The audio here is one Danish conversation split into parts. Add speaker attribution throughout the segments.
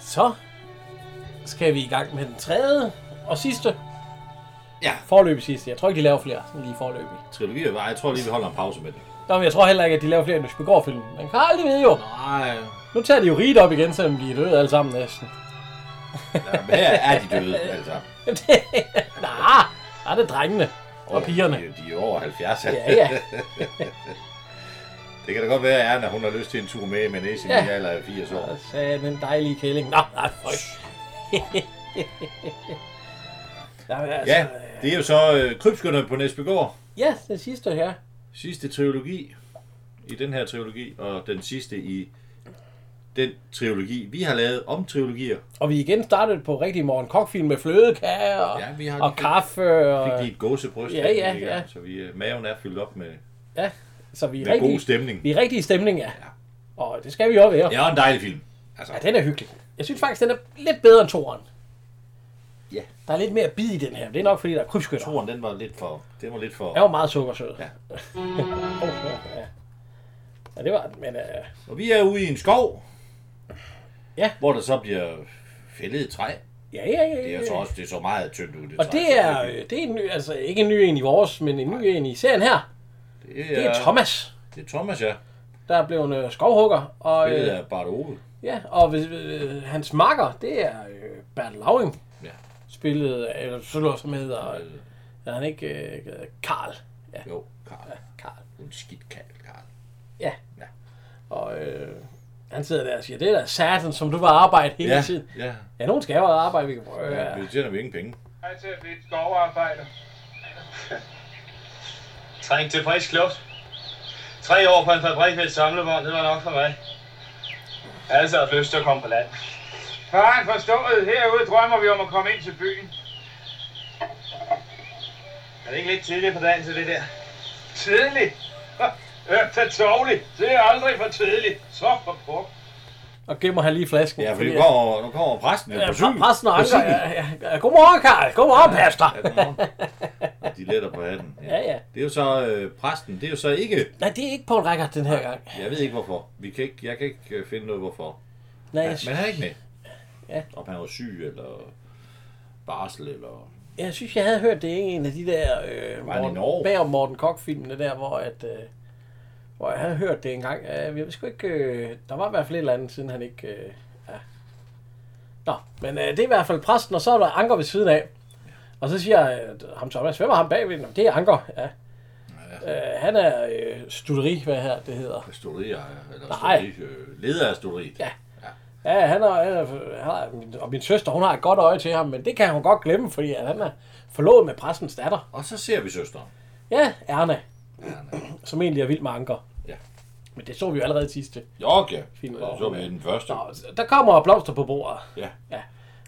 Speaker 1: Så skal vi i gang med den tredje og sidste.
Speaker 2: Ja.
Speaker 1: Forløbig sidste. Jeg tror ikke, de laver flere sådan lige forløbig.
Speaker 2: Trilogi er bare, jeg tror lige, vi holder en pause med det.
Speaker 1: Nå, men jeg tror heller ikke, at de laver flere end Spigård film. Man kan aldrig vide jo.
Speaker 2: Nej,
Speaker 1: Nu tager de jo rigt op igen, selvom de er døde alle sammen næsten.
Speaker 2: her er de døde, altså.
Speaker 1: Nej, der er det drengene og pigerne.
Speaker 2: De, er- de er over 70.
Speaker 1: Ja, ja.
Speaker 2: Det kan da godt være, at Erna, hun har lyst til en tur med med næsen
Speaker 1: Ja. Altså,
Speaker 2: ja. i en alder af 80 år.
Speaker 1: Og sagde den dejlige kælling. Nå, nej, føj. Jamen, altså,
Speaker 2: Ja, det er jo så øh, krybskytterne på Næsbygård.
Speaker 1: ja, den sidste her.
Speaker 2: Sidste trilogi i den her trilogi, og den sidste i den trilogi, vi har lavet om trilogier.
Speaker 1: Og vi igen startede på rigtig morgen kokfilm med flødekager og,
Speaker 2: Ja, vi har
Speaker 1: og
Speaker 2: lige-
Speaker 1: kaffe.
Speaker 2: Fik
Speaker 1: Og,
Speaker 2: lige et gåsebryst.
Speaker 1: Ja,
Speaker 2: her,
Speaker 1: ja,
Speaker 2: ikke?
Speaker 1: ja.
Speaker 2: Så vi, øh, maven er fyldt op med,
Speaker 1: ja, så vi er
Speaker 2: med god
Speaker 1: rigtig,
Speaker 2: stemning.
Speaker 1: Vi er rigtig i stemning, ja. Og det skal vi også være.
Speaker 2: Ja, og en dejlig film. Altså,
Speaker 1: Ja, den er hyggelig. Jeg synes faktisk, den er lidt bedre end toeren.
Speaker 2: Ja.
Speaker 1: Der er lidt mere bid i den her. Det er nok, fordi der er krybskytter.
Speaker 2: Toren, den var lidt for... Den var lidt for...
Speaker 1: Den var meget sukkersød.
Speaker 2: Ja.
Speaker 1: Åh, ja. ja, det var den, men øh,
Speaker 2: Og vi er ude i en skov.
Speaker 1: Ja.
Speaker 2: Hvor der så bliver fældet et træ.
Speaker 1: ja, ja, ja.
Speaker 2: Det
Speaker 1: ja.
Speaker 2: er så også det er så meget tyndt ud. Det
Speaker 1: Øh. Og
Speaker 2: træ,
Speaker 1: det er,
Speaker 2: så
Speaker 1: øh, det er en ny, altså ikke en ny en i vores, men en ny en i serien her.
Speaker 2: Det er,
Speaker 1: Det er Thomas,
Speaker 2: Det er Thomas, ja.
Speaker 1: der er blevet en øh, skovhugger. Og,
Speaker 2: Det
Speaker 1: øh,
Speaker 2: er Bart Ove.
Speaker 1: ja, og hvis, øh, hans makker, det er øh, Bert Lauring.
Speaker 2: Ja.
Speaker 1: Spillet, af- eller så som hedder, øh,
Speaker 2: Øh,
Speaker 1: er han ikke øh, Karl? Ja,
Speaker 2: Jo, Karl.
Speaker 1: Karl.
Speaker 2: En skidt kald, Karl.
Speaker 1: Ja.
Speaker 2: Ja.
Speaker 1: Og øh, han sidder der og siger, det er da satan, som du var arbejde hele
Speaker 2: Ja,
Speaker 1: tiden.
Speaker 2: ja.
Speaker 1: Ja, nogen skal jo arbejde, vi kan prøve. Ja,
Speaker 2: Vi tjener vi ingen penge.
Speaker 3: Hej til at blive et skovarbejder.
Speaker 4: Træng til frisk luft. Tre år på en fabrik ved et samlevogn, det var nok for mig. Jeg har altid haft lyst til at komme på land.
Speaker 3: Faren forstået, herude drømmer vi om at komme ind til byen.
Speaker 4: Er det ikke lidt tidligt på dagen til det der?
Speaker 3: Tidligt. Øh, tag tårligt. Det er aldrig for tidligt. Så for brugt.
Speaker 1: og gemmer han lige flasken.
Speaker 2: Ja, for nu kommer, nu kommer præsten jo
Speaker 1: Ja,
Speaker 2: på cykel.
Speaker 1: præsten og
Speaker 2: På
Speaker 1: anker,
Speaker 2: cykel.
Speaker 1: ja, ja, ja. Godmorgen, Karl. Godmorgen,
Speaker 2: Ja,
Speaker 1: pastor.
Speaker 2: godmorgen. Og De letter på hatten.
Speaker 1: Ja, ja.
Speaker 2: Det er jo så øh, præsten. Det er jo så ikke...
Speaker 1: Nej, det er ikke Paul Rækker den her gang.
Speaker 2: Jeg ved ikke hvorfor. Vi kan ikke, jeg kan ikke øh, finde noget hvorfor.
Speaker 1: Nej,
Speaker 2: Ja,
Speaker 1: jeg,
Speaker 2: men han er ikke med.
Speaker 1: Ja.
Speaker 2: Om han var syg, eller barsel, eller...
Speaker 1: jeg synes, jeg havde hørt, det er en af de der... Øh,
Speaker 2: Var han i
Speaker 1: Morten,
Speaker 2: Norge?
Speaker 1: bag om Morten Koch-filmene der, hvor at... Øh, hvor jeg havde hørt det engang. Jeg ved sgu ikke... Øh, der var i hvert fald et eller andet, siden han ikke... Øh, ja. Nå, men øh, det er i hvert fald præsten, og så er der Anker ved siden af. Og så siger jeg, øh, ham Thomas, hvem er ham bagved? Nå, det er Anker, ja. ja. Øh, han er øh, studeri, hvad her det hedder.
Speaker 2: Studerier, eller
Speaker 1: Nej.
Speaker 2: studeri, øh, leder af studeriet.
Speaker 1: Ja. Ja, han er, han er, han er, min- og min søster, hun har et godt øje til ham, men det kan hun godt glemme, fordi at han er forlovet med præstens datter.
Speaker 2: Og så ser vi søsteren.
Speaker 1: Ja, Erna,
Speaker 2: Erna.
Speaker 1: som egentlig er vild med anker.
Speaker 2: Ja.
Speaker 1: Men det så vi jo allerede i sidste.
Speaker 2: Jo, ja.
Speaker 1: Fint.
Speaker 2: Og Så med den første.
Speaker 1: Nå, der kommer blomster på bordet.
Speaker 2: Ja.
Speaker 1: Ja.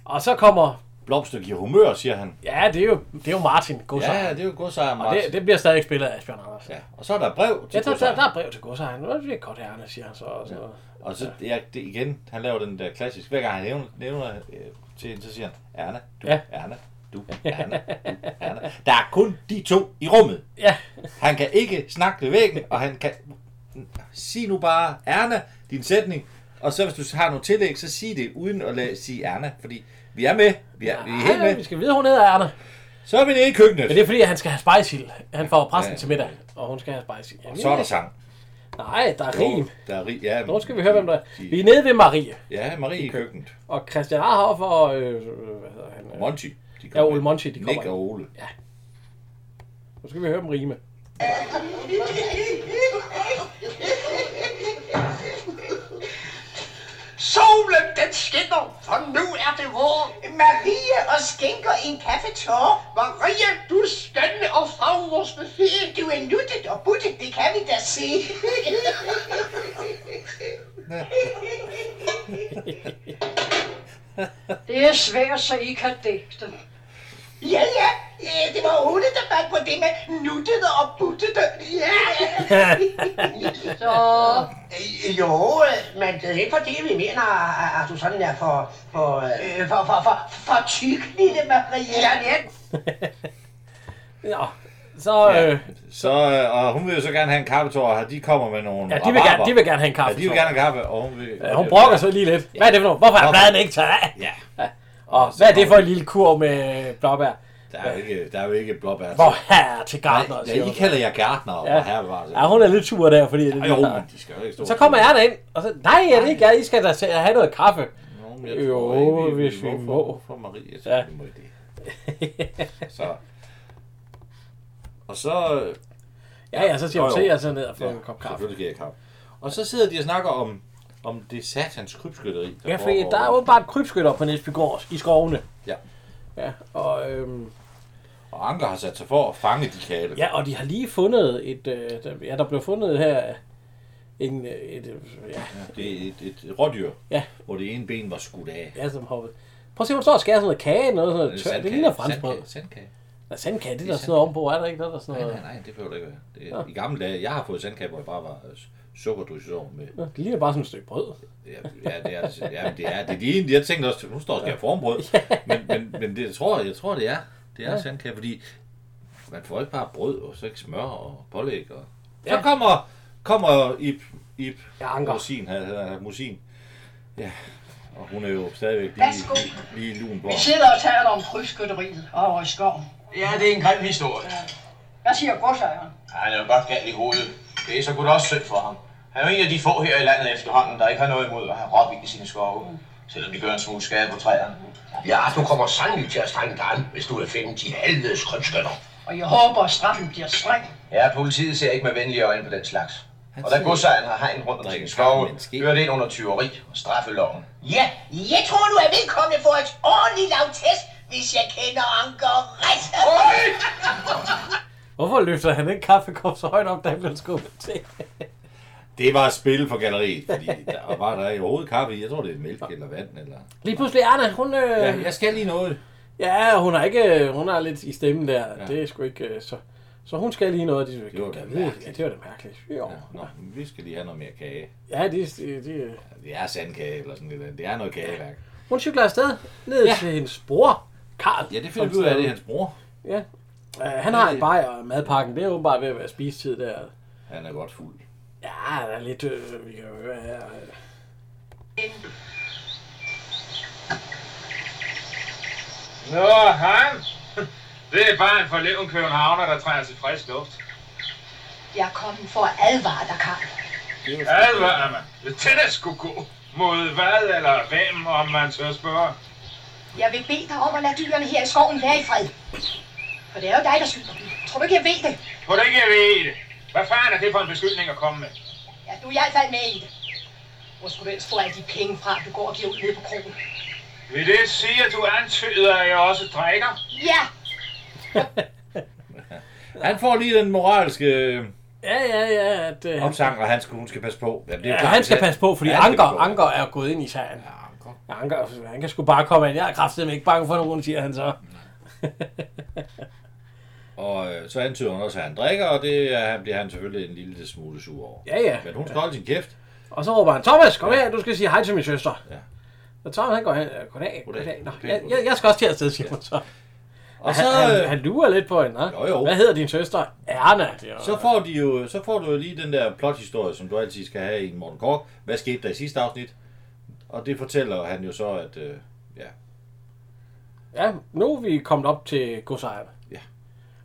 Speaker 1: Og så kommer,
Speaker 2: Blomster giver humør, siger han.
Speaker 1: ja, det er jo, det er jo Martin Godsejer.
Speaker 2: Ja, det er jo godsejer,
Speaker 1: og
Speaker 2: Martin.
Speaker 1: det, det bliver stadig spillet af Asbjørn Andersen.
Speaker 2: Ja. Og så er der brev
Speaker 1: Ja,
Speaker 2: til
Speaker 1: der, der,
Speaker 2: godsejer.
Speaker 1: der er brev til Godsejer. Nu er det godt, Erna, siger han så. Og så.
Speaker 2: Og så ja, det igen, han laver den der klassisk. Hver gang han nævner, nævner øh, til hende, så siger han, Erna, du,
Speaker 1: Ja.
Speaker 2: Erna, du, Erna, du, Erna. Der er kun de to i rummet.
Speaker 1: Ja.
Speaker 2: Han kan ikke snakke ved væggen, og han kan... Sig nu bare, Erna, din sætning. Og så hvis du har nogle tillæg, så sig det uden at lade, sige Erna, fordi vi er med. Vi er, vi er helt
Speaker 1: Ja, vi
Speaker 2: med.
Speaker 1: skal vide, hun hedder Erna.
Speaker 2: Så er vi nede i
Speaker 1: Men
Speaker 2: køkkenet.
Speaker 1: det er fordi, at han skal have spejsild. Han får præsten
Speaker 2: Ja.
Speaker 1: til middag, og hun skal have spejsild. Ja,
Speaker 2: Så er der sang.
Speaker 1: Nej, der er rim.
Speaker 2: Der er rim. Ja,
Speaker 1: Nu skal vi høre, hvem der er.
Speaker 2: de-
Speaker 1: Vi er nede ved Marie,
Speaker 2: Ja, Marie i køkkenet.
Speaker 1: og Christian Arhoff og... Øh, øh, hvad hedder han? øh?
Speaker 2: Monty. De
Speaker 1: Ja, Ole Monty, de kommer.
Speaker 2: Nick og Ole.
Speaker 1: Nu skal vi høre dem rime.
Speaker 5: Solen den skinner, for nu er det vår. Marie og skænker en kaffetår. Marie, du er skønne og fagners med fede. Du er nuttet og buttet, det kan vi da se.
Speaker 6: Det er svært, så I kan digte.
Speaker 5: ja, ja, øh, det var Ole, der fandt på det med nuttet og buttet. Ja.
Speaker 6: Så
Speaker 5: Øh, Jo, øh, men det er ikke fordi, vi mener, at- at du sådan er for, for, øh, for, for, for, for tyk, lille Marie. Ja, det er
Speaker 1: Nå, så...
Speaker 2: Ja.
Speaker 1: Ja, øh,
Speaker 2: Så, øh, og hun vil jo så gerne have en kaffetår, og de kommer med nogle
Speaker 1: ja de, vil gerne,
Speaker 2: rabarber.
Speaker 1: de vil gerne have en
Speaker 2: Ja,
Speaker 1: kaffe.
Speaker 2: de vil gerne have kaffe, og hun vil...
Speaker 1: Ja, hun brokker sig lige lidt. Hvad er det for noget? Hvorfor er
Speaker 2: Hvorfor?
Speaker 1: pladen ikke taget af?
Speaker 2: Ja,
Speaker 1: Og hvad er det for en lille kur med blåbær?
Speaker 2: der er jo ikke, der er jo ikke blåbær.
Speaker 1: Hvor her til gardner,
Speaker 2: Ja,
Speaker 1: siger
Speaker 2: I
Speaker 1: hun.
Speaker 2: kalder jer gardner, og
Speaker 1: Ja.
Speaker 2: ja. her var det.
Speaker 1: Ja, hun er lidt sur der, fordi... Det,
Speaker 2: Jo, men de skal jo ikke stå.
Speaker 1: så kommer jeg ind, og så... Nej, jeg er det ikke jeg. I skal da til- have noget kaffe.
Speaker 2: Nå, men jeg tror
Speaker 1: Jo,
Speaker 2: ikke,
Speaker 1: hvis vi må.
Speaker 2: For, for Marie, så
Speaker 1: Ja.
Speaker 2: ja. må I det. Så. Og så... øh,
Speaker 1: Ja, ja, så siger hun,
Speaker 2: Jo,
Speaker 1: se
Speaker 2: jo.
Speaker 1: jeg så ned og få en kop kaffe.
Speaker 2: Selvfølgelig giver jeg kaffe. Og så sidder de og snakker om, om det satans krybskytteri.
Speaker 1: Ja, fordi
Speaker 2: foregår.
Speaker 1: der er åbenbart krybskytter på Næsbygård i skovene.
Speaker 2: Ja.
Speaker 1: Ja, og, øhm,
Speaker 2: Og Anker har sat sig for at fange de kæle.
Speaker 1: ja, og de har lige fundet et... Øh, der, ja, der blev fundet her en, øh, et, øh, ja,
Speaker 2: Det er et, et rådyr,
Speaker 1: Ja.
Speaker 2: hvor det ene ben var skudt af.
Speaker 1: ja, som hoppede. Prøv at se, hun står og skærer sådan noget kage, noget sådan
Speaker 2: Øh,
Speaker 1: noget tør. Det
Speaker 2: sandkage.
Speaker 1: ligner franskbrød.
Speaker 2: Sandkage, Sandkage.
Speaker 1: Nej, sandkage, det er der sådan noget ovenpå, er der ikke noget, der er sådan
Speaker 2: Nej,
Speaker 1: noget?
Speaker 2: nej, nej, det behøver det ikke være. Det, er- I gamle dage, jeg har fået sandkage, hvor jeg bare var øh, sukkerdrys over med
Speaker 1: Nå, Det ligner bare sådan et stykke brød.
Speaker 2: Ja, ja, det er det. Ja, men det er det. Er de ene, jeg tænkte også, nu står der formbrød. Men, men, men det, jeg, tror, jeg tror, det er. Det er ja. sandkage, fordi man får ikke bare brød, og så ikke smør og pålæg. Og... Ja. Så
Speaker 1: Ja.
Speaker 2: kommer, kommer Ip, Ip
Speaker 1: Ja, Anker.
Speaker 2: Musin, han hedder han, Musin. Ja, og hun er jo stadigvæk lige,
Speaker 6: Værsgo.
Speaker 2: lige, lige lun på.
Speaker 6: vi sidder og taler om krydsskytteriet over i skoven.
Speaker 4: Ja, det er en grim historie.
Speaker 6: Hvad siger godsejeren?
Speaker 4: Han er jo godt galt i hovedet. Det er så godt også synd for ham. Han er jo en af de få her i landet efterhånden, der ikke har noget imod at have råvild i sine skove. Selvom de gør en smule skade på træerne.
Speaker 5: Ja, du kommer sandelig til at strenge dig an, hvis du vil finde de helvedes krybskytter.
Speaker 6: Og jeg håber, at straffen bliver streng.
Speaker 4: Ja, politiet ser ikke med venlige øjne på den slags. Og da godsejeren har hegn rundt om
Speaker 2: Drikker
Speaker 4: sine skove,
Speaker 2: kaffe med en ske.
Speaker 4: hører det ind under tyveri og straffeloven.
Speaker 5: Ja, jeg tror, du er velkommen for et ordentligt lavtest, hvis jeg kender Anker ret.
Speaker 1: Hvorfor løfter han den kaffekop så højt op, da han blev skubbet til?
Speaker 2: Det var et spil for galleriet, fordi der var der i hovedet kaffe i. Jeg tror, det er mælk eller vand. Eller...
Speaker 1: Lige pludselig, Anna, hun... Øh,
Speaker 2: Ja,
Speaker 1: ja,
Speaker 2: jeg skal lige noget.
Speaker 1: ja, hun er ikke... øh, Hun er lidt i stemmen der. Ja. Det er sgu ikke... øh, Så, så hun skal lige noget, de
Speaker 2: Det var da
Speaker 1: Ja,
Speaker 2: mærkeligt.
Speaker 1: Ja, det var da mærkeligt. Jo.
Speaker 2: Nå, men vi skal lige have noget mere kage.
Speaker 1: Ja, de, de, de,
Speaker 2: Det er sandkage eller sådan lidt. Det er noget kageværk.
Speaker 1: hun cykler afsted ned ja. til hendes bror, Karl.
Speaker 2: Ja, det finder vi ud af, det er hans bror.
Speaker 1: Ja. Uh, han har en bajer og madpakken. Det er åbenbart ved at være spisetid der.
Speaker 2: Han er godt fuld.
Speaker 1: Ja, der er lidt... Øh, vi kan høre her. øh.
Speaker 3: Nå, ham. Det er bare en forleven københavner, der trænger til frisk luft.
Speaker 6: Jeg er kommet for at advare dig, Karl.
Speaker 3: Advarer man. Hvis det der skulle gå mod hvad eller hvem, om man så spørger.
Speaker 6: Jeg vil bede dig om at lade dyrene her i skoven være i fred. For det er jo dig, der skyder dem. Tror du ikke, jeg ved det?
Speaker 3: På det ikke jeg ved det. Hvad fanden er det for en beskyldning at komme med?
Speaker 6: Ja, du er i hvert fald med i det. Hvor skulle du ellers få alle de penge fra, du går og giver ud nede på krogen?
Speaker 3: Vil det sige, at du antyder, at jeg også drikker?
Speaker 6: Ja,
Speaker 2: Han får lige den moralske øh,
Speaker 1: Ja, ja, ja. At, øh, han,
Speaker 2: omsang, og han skal, hun skal passe på. Jamen, det er jo
Speaker 1: ja,
Speaker 2: klart,
Speaker 1: han skal
Speaker 2: hvis
Speaker 1: passe på, fordi
Speaker 2: Ja, han skal
Speaker 1: Anker,
Speaker 2: passe på.
Speaker 1: Anker er gået ind i sagen.
Speaker 2: Ja, Anker.
Speaker 1: Ja, Han kan, han kan sgu bare komme ind. Jeg er kraftedeme ikke bange for nogen, siger han så.
Speaker 2: Og øh, så antyder hun også, at han drikker, og det er, han- bliver han selvfølgelig en lille smule sur over.
Speaker 1: Ja, ja.
Speaker 2: Men hun skal holde sin kæft.
Speaker 1: Og så råber han, Thomas, kom her, du skal sige hej til min søster.
Speaker 2: Ja.
Speaker 1: Og Thomas, han går hen, "Øh, goddag,
Speaker 2: Goddag,
Speaker 1: goddag. Nå,
Speaker 2: goddag,
Speaker 1: jeg,
Speaker 2: goddag."
Speaker 1: jeg, jeg skal også til afsted, siger hun så.
Speaker 2: Og så,
Speaker 1: Han, han,
Speaker 2: øh,
Speaker 1: han lurer lidt på hende,
Speaker 2: Jo, jo.
Speaker 1: hva'? Hvad hedder din søster? Erna. siger hun.
Speaker 2: så får, de jo, så får du jo lige den der plothistorie, som du altid skal have i en Morten Kork. Hvad skete der i sidste afsnit? Og det fortæller han jo så, at øh, ja,
Speaker 1: Ja, nu er vi kommet op til godsejerne.
Speaker 2: Ja.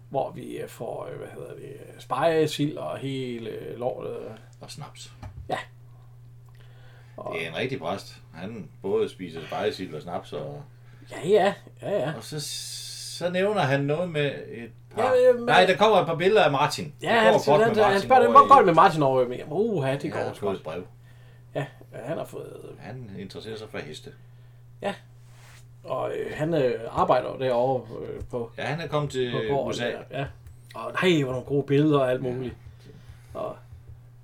Speaker 1: Hvor vi øh, får, øh, hvad hedder det, øh, spege, sild og hele øh, lortet.
Speaker 2: og snaps.
Speaker 1: Ja.
Speaker 2: Det er en rigtig præst. Han både spiser spejsild og snaps og
Speaker 1: Ja, ja, ja, ja.
Speaker 2: Og så, så nævner han noget med et par...
Speaker 1: Ja,
Speaker 2: Ja,
Speaker 1: øh, men-
Speaker 2: Nej, der kommer et par billeder af Martin.
Speaker 1: Ja, han, han, han, han spørger, hvor går det med Martin over? Uh, det
Speaker 2: Jeg
Speaker 1: går
Speaker 2: har
Speaker 1: sgu.
Speaker 2: fået et brev.
Speaker 1: Ja, øh, han har fået...
Speaker 2: Han interesserer sig for heste.
Speaker 1: Og øh, han øh, arbejder jo derovre øh, på,
Speaker 2: Ja, han er kommet til
Speaker 1: på gården.
Speaker 2: USA.
Speaker 1: der, Ja. Og nej, hvor nogle gode billeder og alt muligt. Og,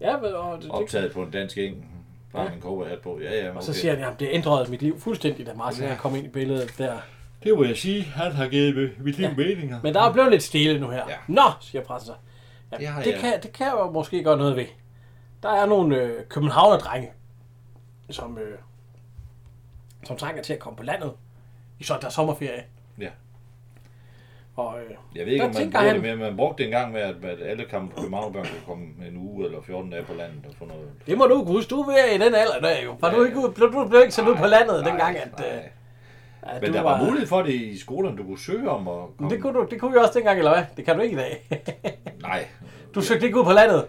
Speaker 1: ja, men- og, det, det,
Speaker 2: Optaget på en dansk eng. Bare med en cowboyhat på. Ja, ja, okay.
Speaker 1: og så siger han, jamen, det ændrede mit liv fuldstændig, da Martin
Speaker 2: Ja.
Speaker 1: ja. kom ind i billedet der.
Speaker 2: Det må jeg sige. Han har givet mit- mit liv meninger.
Speaker 1: Men der er blevet lidt stille nu her.
Speaker 2: Ja.
Speaker 1: Ja. Nå, siger præsten så. Ja,
Speaker 2: Det
Speaker 1: det,
Speaker 2: har
Speaker 1: det,
Speaker 2: jeg.
Speaker 1: kan, det kan jeg jo måske gøre noget ved. Der er nogle øh, københavnerdrenge, som, øh, som trænger til at komme på landet i sådan der sommerferie.
Speaker 2: Ja.
Speaker 1: Og øh,
Speaker 2: Jeg ved ikke,
Speaker 1: Der
Speaker 2: om man
Speaker 1: tænker
Speaker 2: bruger
Speaker 1: han-
Speaker 2: det mere. Man brugte det engang med, at, at alle kom- københavnerbørn kunne komme en uge eller 14 dage på landet og få noget.
Speaker 1: det må du kunne huske. Du er ved i den alder der jo. Var
Speaker 2: Ja,
Speaker 1: du
Speaker 2: ja.
Speaker 1: ikke ude- blev, du blev ikke sendt ud på landet
Speaker 2: Nej,
Speaker 1: dengang, at,
Speaker 2: nej.
Speaker 1: øh, at
Speaker 2: Men
Speaker 1: du
Speaker 2: der var mulighed for det i skolerne, du kunne søge om at komme.
Speaker 1: Det kunne, du, det kunne vi også dengang, eller hvad? Det kan du ikke i dag.
Speaker 2: Nej,
Speaker 1: du søgte ikke ud på landet.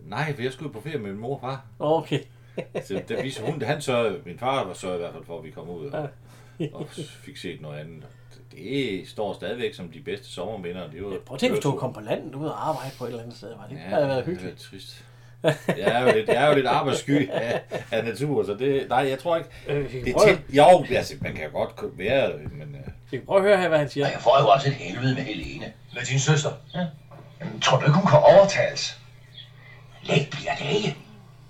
Speaker 2: nej, for jeg skulle jo på ferie med min mor og far.
Speaker 1: Okay.
Speaker 2: Så der viste hun, han så, min far var så i hvert fald for, at vi kom ud og, og fik set noget andet. Det står stadigvæk som de bedste sommerminder. Det var
Speaker 1: Prøv at tænke, hvis du kom på landet ud og arbejde på et eller andet sted. Var det ikke?
Speaker 2: Ja,
Speaker 1: Ja, det havde været
Speaker 2: det
Speaker 1: hyggeligt.
Speaker 2: er trist. Jeg er jo lidt, jeg er jo lidt arbejdssky af, af natur, så det, nej, jeg tror ikke.
Speaker 1: Øh,
Speaker 2: Det er
Speaker 1: prøv-
Speaker 2: tæt, jo, altså, man kan godt kø- være, men øh,
Speaker 1: Vi kan prøve at høre her, hvad han siger.
Speaker 4: Og jeg får jo også et helvede med Helene. Med din søster.
Speaker 7: Jamen, tror du ikke, hun kan overtales?
Speaker 4: Læg bliver det ikke.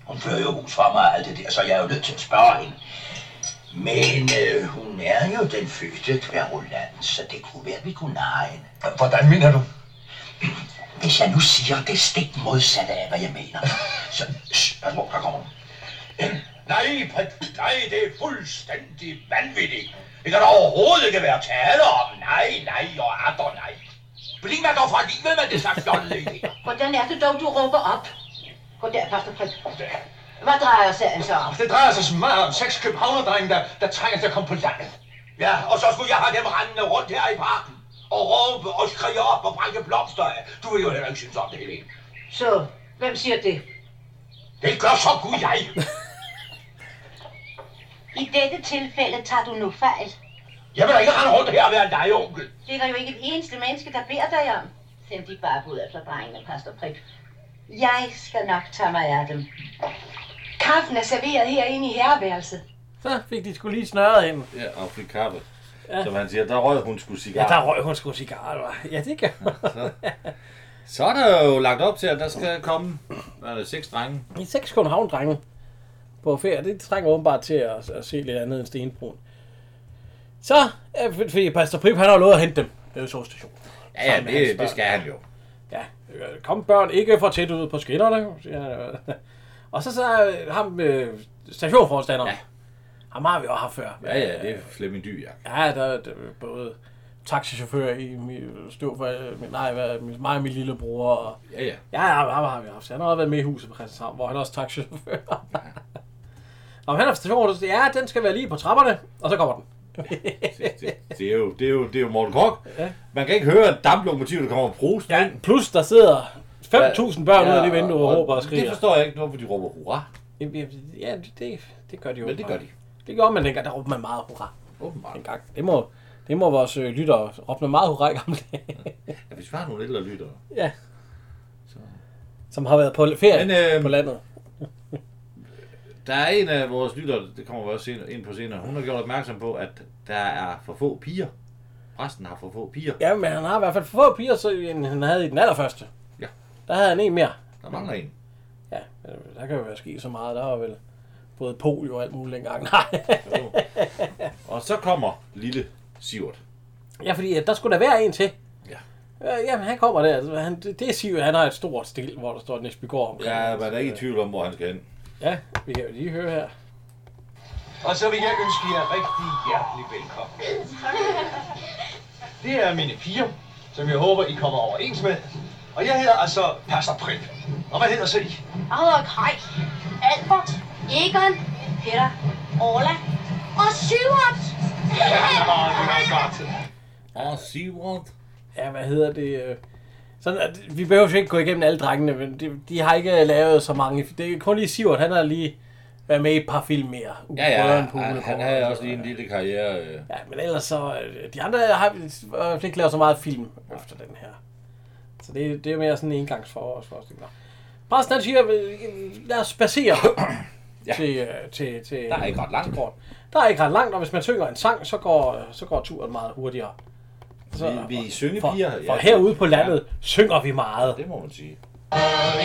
Speaker 4: Hun fører jo hus fra mig og alt det der, så jeg er jo nødt til at spørge hende. Men øh, hun er jo den fødte kværulant, så det kunne være, at vi kunne narre hende.
Speaker 7: Hvordan mener du?
Speaker 4: Hvis jeg nu siger det stik modsatte af, hvad jeg mener, så... Shh, pas på, der kommer hun.
Speaker 7: Nej, Pat- nej, det er fuldstændig vanvittigt. Det kan der overhovedet ikke være tale om. Nej, nej og atter nej. Bliv mig dog fra livet med det slags fjollede idéer.
Speaker 6: Hvordan er det dog, du råber op? Goddag, pastor Fred. Hvad drejer serien så om?
Speaker 7: Ah, Det drejer sig så meget om seks københavnerdrenge, der, der trænger til at komme på landet. Ja, og så skulle jeg have dem rendende rundt her i parken. Og råbe og skrige op og brænde blomster af. Du vil jo heller ikke synes om det, Helene.
Speaker 6: Så, hvem siger det?
Speaker 7: Det gør så gud jeg.
Speaker 6: I dette tilfælde tager du nu fejl.
Speaker 7: Jeg vil da ikke rende rundt her og være legeonkel.
Speaker 6: Det er der jo ikke et eneste menneske, der beder dig om. Send de bare ud efter drengene, pastor Prik. Jeg skal nok tage mig af dem. Kaffen er serveret herinde i herreværelset.
Speaker 1: Så fik de skulle lige snørret hende.
Speaker 2: ja, og fik kaffe. Som han siger, der røg hun skulle
Speaker 1: Ja,
Speaker 2: cigar.
Speaker 1: der røg hun sgu cigaretter. Ja, det kan
Speaker 2: Så er der jo lagt op til, at der skal komme hvad er det, seks drenge.
Speaker 1: I seks København-drenge på ferie, det trænger åbenbart til at, at se lidt andet end Stenbrun. Så, ja, for- fordi Pastor Prip, han har lovet at hente dem ved togstationen.
Speaker 2: Ja, ja
Speaker 1: Sammen med hans
Speaker 2: det,
Speaker 1: børn.
Speaker 2: det skal han jo.
Speaker 1: Ja, øh, kom børn, ikke for tæt ud på skinnerne, siger han. Og så så øh, ham øh, stationforstanderen.
Speaker 2: Ja.
Speaker 1: Ja. Ham har vi jo haft før.
Speaker 2: Ja, ja, det er Flemming Dyrjak.
Speaker 1: Ja, der er der er både taxichauffør i min støv for øh, min, nej, hvad, min, mig og min lillebror. Og,
Speaker 2: Ja, ja.
Speaker 1: ja, ja, ham har vi haft. Han har også været med i huset på Christianshavn, hvor han er også taxichauffør. Nå, men han har stationen, så ja, den skal være lige på trapperne, og så kommer den.
Speaker 2: Det, det, det, er, jo, det, er, jo, det er jo Morten Kork.
Speaker 1: Ja.
Speaker 2: Man kan ikke høre et damplokomotiv, der kommer brust.
Speaker 1: Ja, plus der sidder 5.000 børn ud af det vindue og råber og
Speaker 2: Det
Speaker 1: skriger.
Speaker 2: forstår jeg ikke, hvorfor de råber hurra.
Speaker 1: Ja, det, det, det gør de jo.
Speaker 2: Men det gør de.
Speaker 1: Det gjorde man dengang, der råbte man meget hurra
Speaker 2: Åbenbart.
Speaker 1: dengang. Det må, det må vores øh, lyttere råbe meget hurra i gamle dage.
Speaker 2: Ja, hvis vi har nogle ældre lyttere.
Speaker 1: Ja. Som har været på ferie
Speaker 2: Men,
Speaker 1: Men,
Speaker 2: øh,
Speaker 1: øh, på landet.
Speaker 2: Der er en af vores lyttere, det kommer vi også senere- ind på senere, hun har gjort opmærksom på, at der er for få piger. Resten har for få piger.
Speaker 1: Ja, men han har i hvert fald for få piger, så, end han havde i den allerførste.
Speaker 2: Ja.
Speaker 1: Der havde han en mere.
Speaker 2: Der mangler en.
Speaker 1: Ja, øh, der kan jo være sket så meget. Der var vel både polio og alt muligt dengang. Nej.
Speaker 2: Og så kommer lille Sivert.
Speaker 1: ja, fordi øh, der skulle der være en til.
Speaker 2: Ja.
Speaker 1: Øh, jamen, han kommer der. Altså, Han, det, det er Siv, han har et stort stil, hvor der står Næsbygård omkring.
Speaker 2: Ja, man er ikke i tvivl om, hvor han skal hen.
Speaker 1: Ja, vi kan jo lige høre her.
Speaker 7: Og så vil jeg ønske jer rigtig hjertelig velkommen. Det er mine piger, som jeg håber, I kommer overens med. Og jeg hedder altså Pastor Prip. Og hvad hedder så I?
Speaker 8: Frederik Høj, Albert, Egon, Peter, Orla og Syvert.
Speaker 2: Åh, Sivert.
Speaker 1: Ja, hvad hedder det? øh, Sådan, at vi behøver jo ikke gå igennem alle drengene, men de, de har ikke lavet så mange. Det er kun lige Sivert, han har lige været med i et par film mere.
Speaker 2: Ja, ja,
Speaker 1: Brødrene på
Speaker 2: han, han
Speaker 1: Hullegården.
Speaker 2: havde også lige en lille karriere. øh.
Speaker 1: Ja, men ellers så... øh, De andre har i hvert fald ikke lavet så meget film efter den her. Så det, det er mere sådan en engangsforårsforestilling. Præsten han siger, øh, lad os spacere ja. til, øh, til, til...
Speaker 2: Der er ikke ret langt.
Speaker 1: Kort. Der er ikke ret langt, og hvis man synger en sang, så går, så går turen meget hurtigere. Så,
Speaker 2: Vi, vi er syngepiger.
Speaker 1: for,
Speaker 2: ja.
Speaker 1: for herude på landet synger vi meget.
Speaker 2: Det må man sige.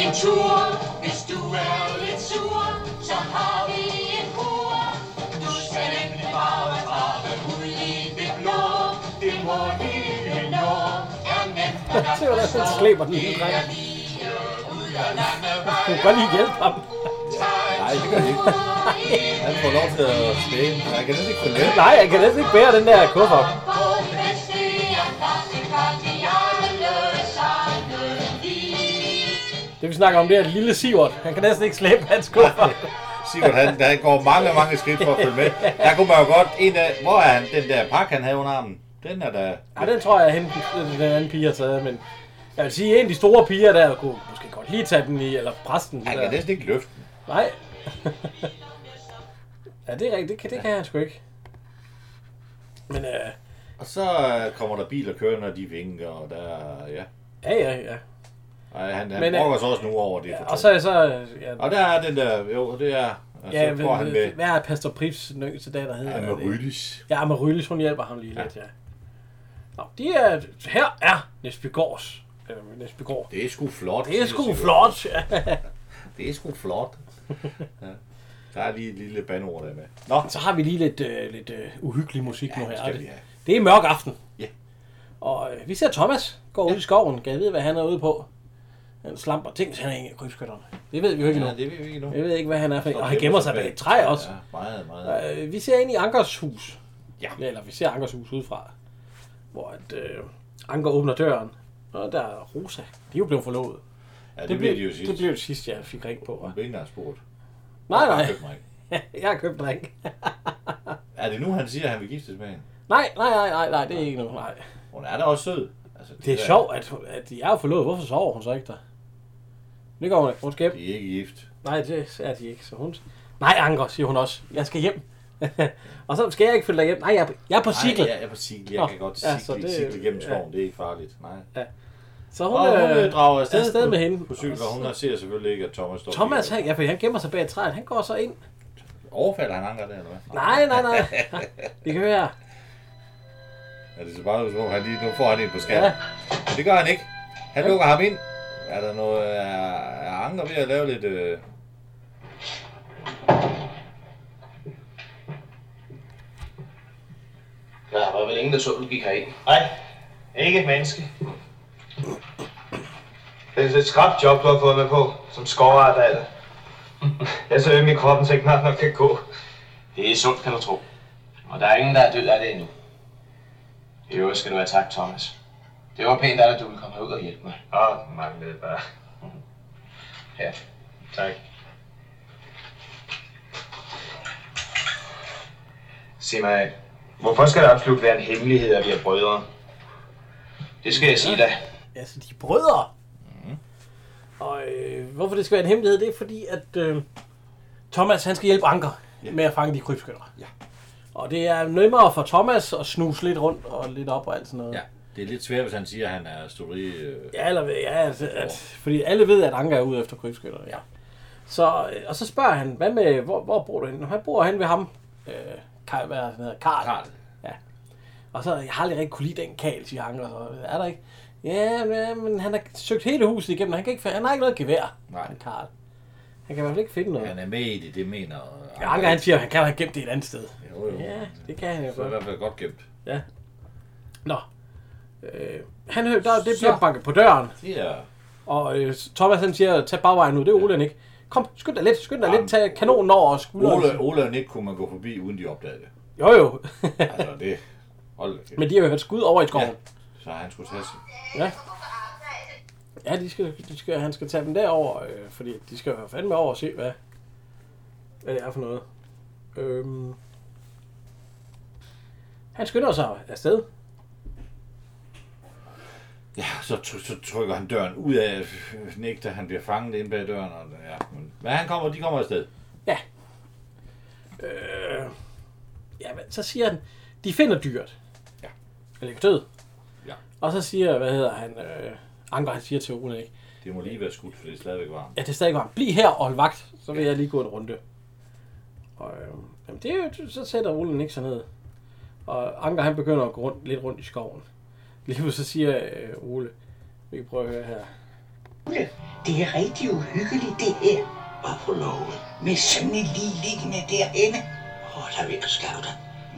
Speaker 9: En tur, hvis du er lidt sur, så har vi en kur. Du skal nemlig bare trappe ud i det blå. Det må lille nå er nemt at
Speaker 1: Se, hvordan han slæber den lille dreng. Du kan godt lige hjælpe ham.
Speaker 2: Nej, det gør det ikke. Han får lov til at slæge. Han kan næsten ikke få let.
Speaker 1: Nej, jeg kan næsten ikke bære den der kuffert.
Speaker 9: gå, mens det er klart til kardiale sange lige.
Speaker 1: Det vi snakker om, det er at lille Sivert. Han kan næsten ikke slæbe hans kuffert.
Speaker 2: Sigurd, han, han går mange, mange skridt for at følge med. Der kunne man jo godt... En af, hvor er han? Den der pakke, han havde under armen. Den er der...
Speaker 1: Ja, den tror jeg, at hende, den, den anden pige har taget, men jeg vil sige, en af de store piger der kunne måske godt lige tage den i, eller præsten.
Speaker 2: Han
Speaker 1: Der.
Speaker 2: kan næsten ikke løfte den.
Speaker 1: Nej. ja, det er rigtigt. Det kan, det kan han sgu ikke. Men øh,
Speaker 2: Og så øh, kommer der biler kørende, og de vinker, og der... Ja.
Speaker 1: ja, ja, ja.
Speaker 2: Ej, han, han
Speaker 1: Men,
Speaker 2: Men,
Speaker 1: øh,
Speaker 2: brokker sig også nu over det.
Speaker 1: Og så er så... Ja,
Speaker 2: og der er den der... Jo, det er... Og så
Speaker 1: ja,
Speaker 2: får han med...
Speaker 1: hvad, hvad er Pastor Prips den yngste dag, der hedder?
Speaker 2: Han med
Speaker 1: Er det ikke?
Speaker 2: Rydis.
Speaker 1: Ja, Amaryllis, hun hjælper ham lige lidt, ja. Nå, de er, her er Nesbygårds. Øh, Nesbygård.
Speaker 2: Det er sgu flot.
Speaker 1: Det er sgu
Speaker 2: Sigurd.
Speaker 1: flot. Ja.
Speaker 2: Det er sgu flot. ja. Der er lige et lille bandord der med. Nå,
Speaker 1: Så har vi lige lidt, øh, lidt øh, uhyggelig musik ja, nu
Speaker 2: det
Speaker 1: her.
Speaker 2: skal
Speaker 1: Det,
Speaker 2: vi have.
Speaker 1: det er mørk aften.
Speaker 2: Ja.
Speaker 1: Og øh, vi ser Thomas gå ja. ud i skoven. Kan jeg vide, hvad han er ude på? Han slamper ting, så han er en af krybskytterne. Det ved vi jo ikke ja,
Speaker 2: ja,
Speaker 1: nu.
Speaker 2: det ved vi ikke nu.
Speaker 1: Jeg ved ikke, hvad han er for en. Og han gemmer sig bag et træ også.
Speaker 2: Ja, meget, meget.
Speaker 1: Ja. Øh, vi ser ind i Ankers hus.
Speaker 2: Ja.
Speaker 1: Eller vi ser Ankers hus udefra. Hvor at, øh, Anker åbner døren. Og der er Rosa. De er jo blevet forlovet.
Speaker 2: Ja, det, bliver de jo sidst.
Speaker 1: Det blev det sidste, jeg fik ring på.
Speaker 2: Hun
Speaker 1: hva'?
Speaker 2: blev ikke engang spurgt.
Speaker 1: Nej,
Speaker 2: Hun
Speaker 1: nej.
Speaker 2: købte mig ikke.
Speaker 1: Jeg har købt drink.
Speaker 2: Er det nu, han siger, at han vil giftes med hende?
Speaker 1: Nej, nej, nej, nej, nej, det er ikke noget. Nej.
Speaker 2: Hun er da også sød. Altså,
Speaker 1: Det er
Speaker 2: der-
Speaker 1: sjovt, at, at de er jo forlovet. Hvorfor sover hun så ikke der? Det går hun ikke. Hun skal hjem.
Speaker 2: De er ikke gift.
Speaker 1: Nej, det er de ikke. Så hun... Nej, Anker, siger hun også. Jeg skal hjem. og så skal jeg ikke følge dig hjem. Nej, jeg er på, jeg er på
Speaker 2: Nej,
Speaker 1: cykel.
Speaker 2: jeg er på cykel. Jeg
Speaker 1: Nå,
Speaker 2: kan godt
Speaker 1: ja,
Speaker 2: cykle,
Speaker 1: så det-
Speaker 2: cykle gennem
Speaker 1: ja.
Speaker 2: skoven. Det er ikke farligt. Nej.
Speaker 1: Så
Speaker 2: Hun,
Speaker 1: hun,
Speaker 2: og hun øh, drager afsted,
Speaker 1: er afsted
Speaker 2: på-
Speaker 1: med hende.
Speaker 2: på cykel, og hun
Speaker 1: Og så-
Speaker 2: ser selvfølgelig ikke, at Thomas står
Speaker 1: Thomas,
Speaker 2: bag.
Speaker 1: han, ja, for han gemmer sig bag et træ. Han går så ind.
Speaker 2: Overfalder han Anker der, eller hvad?
Speaker 1: Nej, nej, nej. Vi kan høre.
Speaker 2: Er det så bare, så han lige, nu får han en på skærmen.
Speaker 1: Ja.
Speaker 2: Ja. Men det gør han ikke. Han lukker ham ind. Er der noget, er, er Anker ved at lave lidt... Øh...
Speaker 7: Der var vel ingen, der så, du gik herind.
Speaker 3: Nej, ikke et menneske. Det er et skrabt job, du har fået mig på, som skovarbejder. Jeg er så øm i kroppen, så jeg knap nok kan gå.
Speaker 7: Det er sundt, kan du tro. Og der er ingen, der er død af det endnu. I øvrigt skal du have tak, Thomas. Det var pænt af dig, at du ville komme herud og hjælpe mig.
Speaker 3: Åh, den manglede bare.
Speaker 7: Ja.
Speaker 3: Tak.
Speaker 7: Sig mig,
Speaker 3: Hvorfor skal det absolut være en hemmelighed, at vi er brødre?
Speaker 7: det skal jeg sige dig.
Speaker 1: Altså, de er brødre.
Speaker 2: Mhm.
Speaker 1: Mm. Og øh, hvorfor det skal være en hemmelighed, det er fordi, at øh, Thomas han skal hjælpe Anker yeah. med at fange de krybskytter.
Speaker 2: Ja.
Speaker 1: Og det er nemmere for Thomas at snuse lidt rundt og lidt op og alt sådan noget.
Speaker 2: Ja, det er lidt svært, hvis han siger, at han er studi... Øh...
Speaker 1: Ja, eller, ja at, at, fordi alle ved, at Anker er ude efter krybskytter. Ja. Så, øh, og så spørger han, hvad med, hvor, hvor bor du henne? Han bor hen ved ham, øh, Karl, hvad er det, han hedder? Karl.
Speaker 2: Karl.
Speaker 1: Og så, jeg har aldrig rigtig kunne lide den kal, siger Anker. Så, er der ikke? Ja, ja, men han har søgt hele huset igennem, og han, kan ikke, fi- han har ikke noget gevær.
Speaker 2: Nej.
Speaker 1: Han, Karl. Han kan i hvert fald ikke finde noget.
Speaker 2: Han er med i det, det mener...
Speaker 1: Ja, Anker han siger, at han kan have gemt det et andet sted.
Speaker 2: Jo, jo.
Speaker 1: Ja, det kan han jo
Speaker 2: Så er
Speaker 1: godt.
Speaker 2: i hvert fald godt gemt.
Speaker 1: Ja. Nå. Øh, han hører, der, det bliver banket på døren,
Speaker 2: Det er...
Speaker 1: og øh, Thomas han siger, tag bagvejen ud, det er Ole ikke. Kom, skynd dig lidt, skynd dig lidt, tag kanonen over og skulderen.
Speaker 2: Ole, Ole og Nick kunne man gå forbi, uden de opdagede det.
Speaker 1: Jo jo,
Speaker 2: Altså, det... Hold da kæft.
Speaker 1: men de har jo hørt skud over i skoven.
Speaker 2: Så han skulle tage sig.
Speaker 1: Ja. Ja, de skal, de skal, han skal tage dem derover, øh, fordi de skal jo fandme over og se, hvad, hvad det er for noget. Øhm. Han skynder sig afsted.
Speaker 2: Ja, så, try- så trykker han døren ud af øh, Nick, da han bliver fanget inde bag døren. Og, ja. men- Men han kommer, de kommer afsted.
Speaker 1: Øh, jamen, så siger han, de finder dyret.
Speaker 2: Ja.
Speaker 1: Eller ikke død.
Speaker 2: Ja.
Speaker 1: Og så siger, hvad hedder han, øh, Anker, han siger til Ole, ikke?
Speaker 2: Det må lige være skudt, for det er stadigvæk varmt.
Speaker 1: Ja, det er stadig varmt. Bliv her og hold vagt, så vil jeg lige gå en runde. Og øh, jamen, det, er jo- så sætter Ole Nixon ned. Og Anker han begynder at gå rundt, lidt rundt i skoven. Lige pludselig så siger øh, Ole, vi kan prøve at høre her.
Speaker 5: Det er rigtig uhyggeligt, det her. Hvorfor lov? Med sådan en lige liggende derinde. Åh, oh, der er ved at skave dig.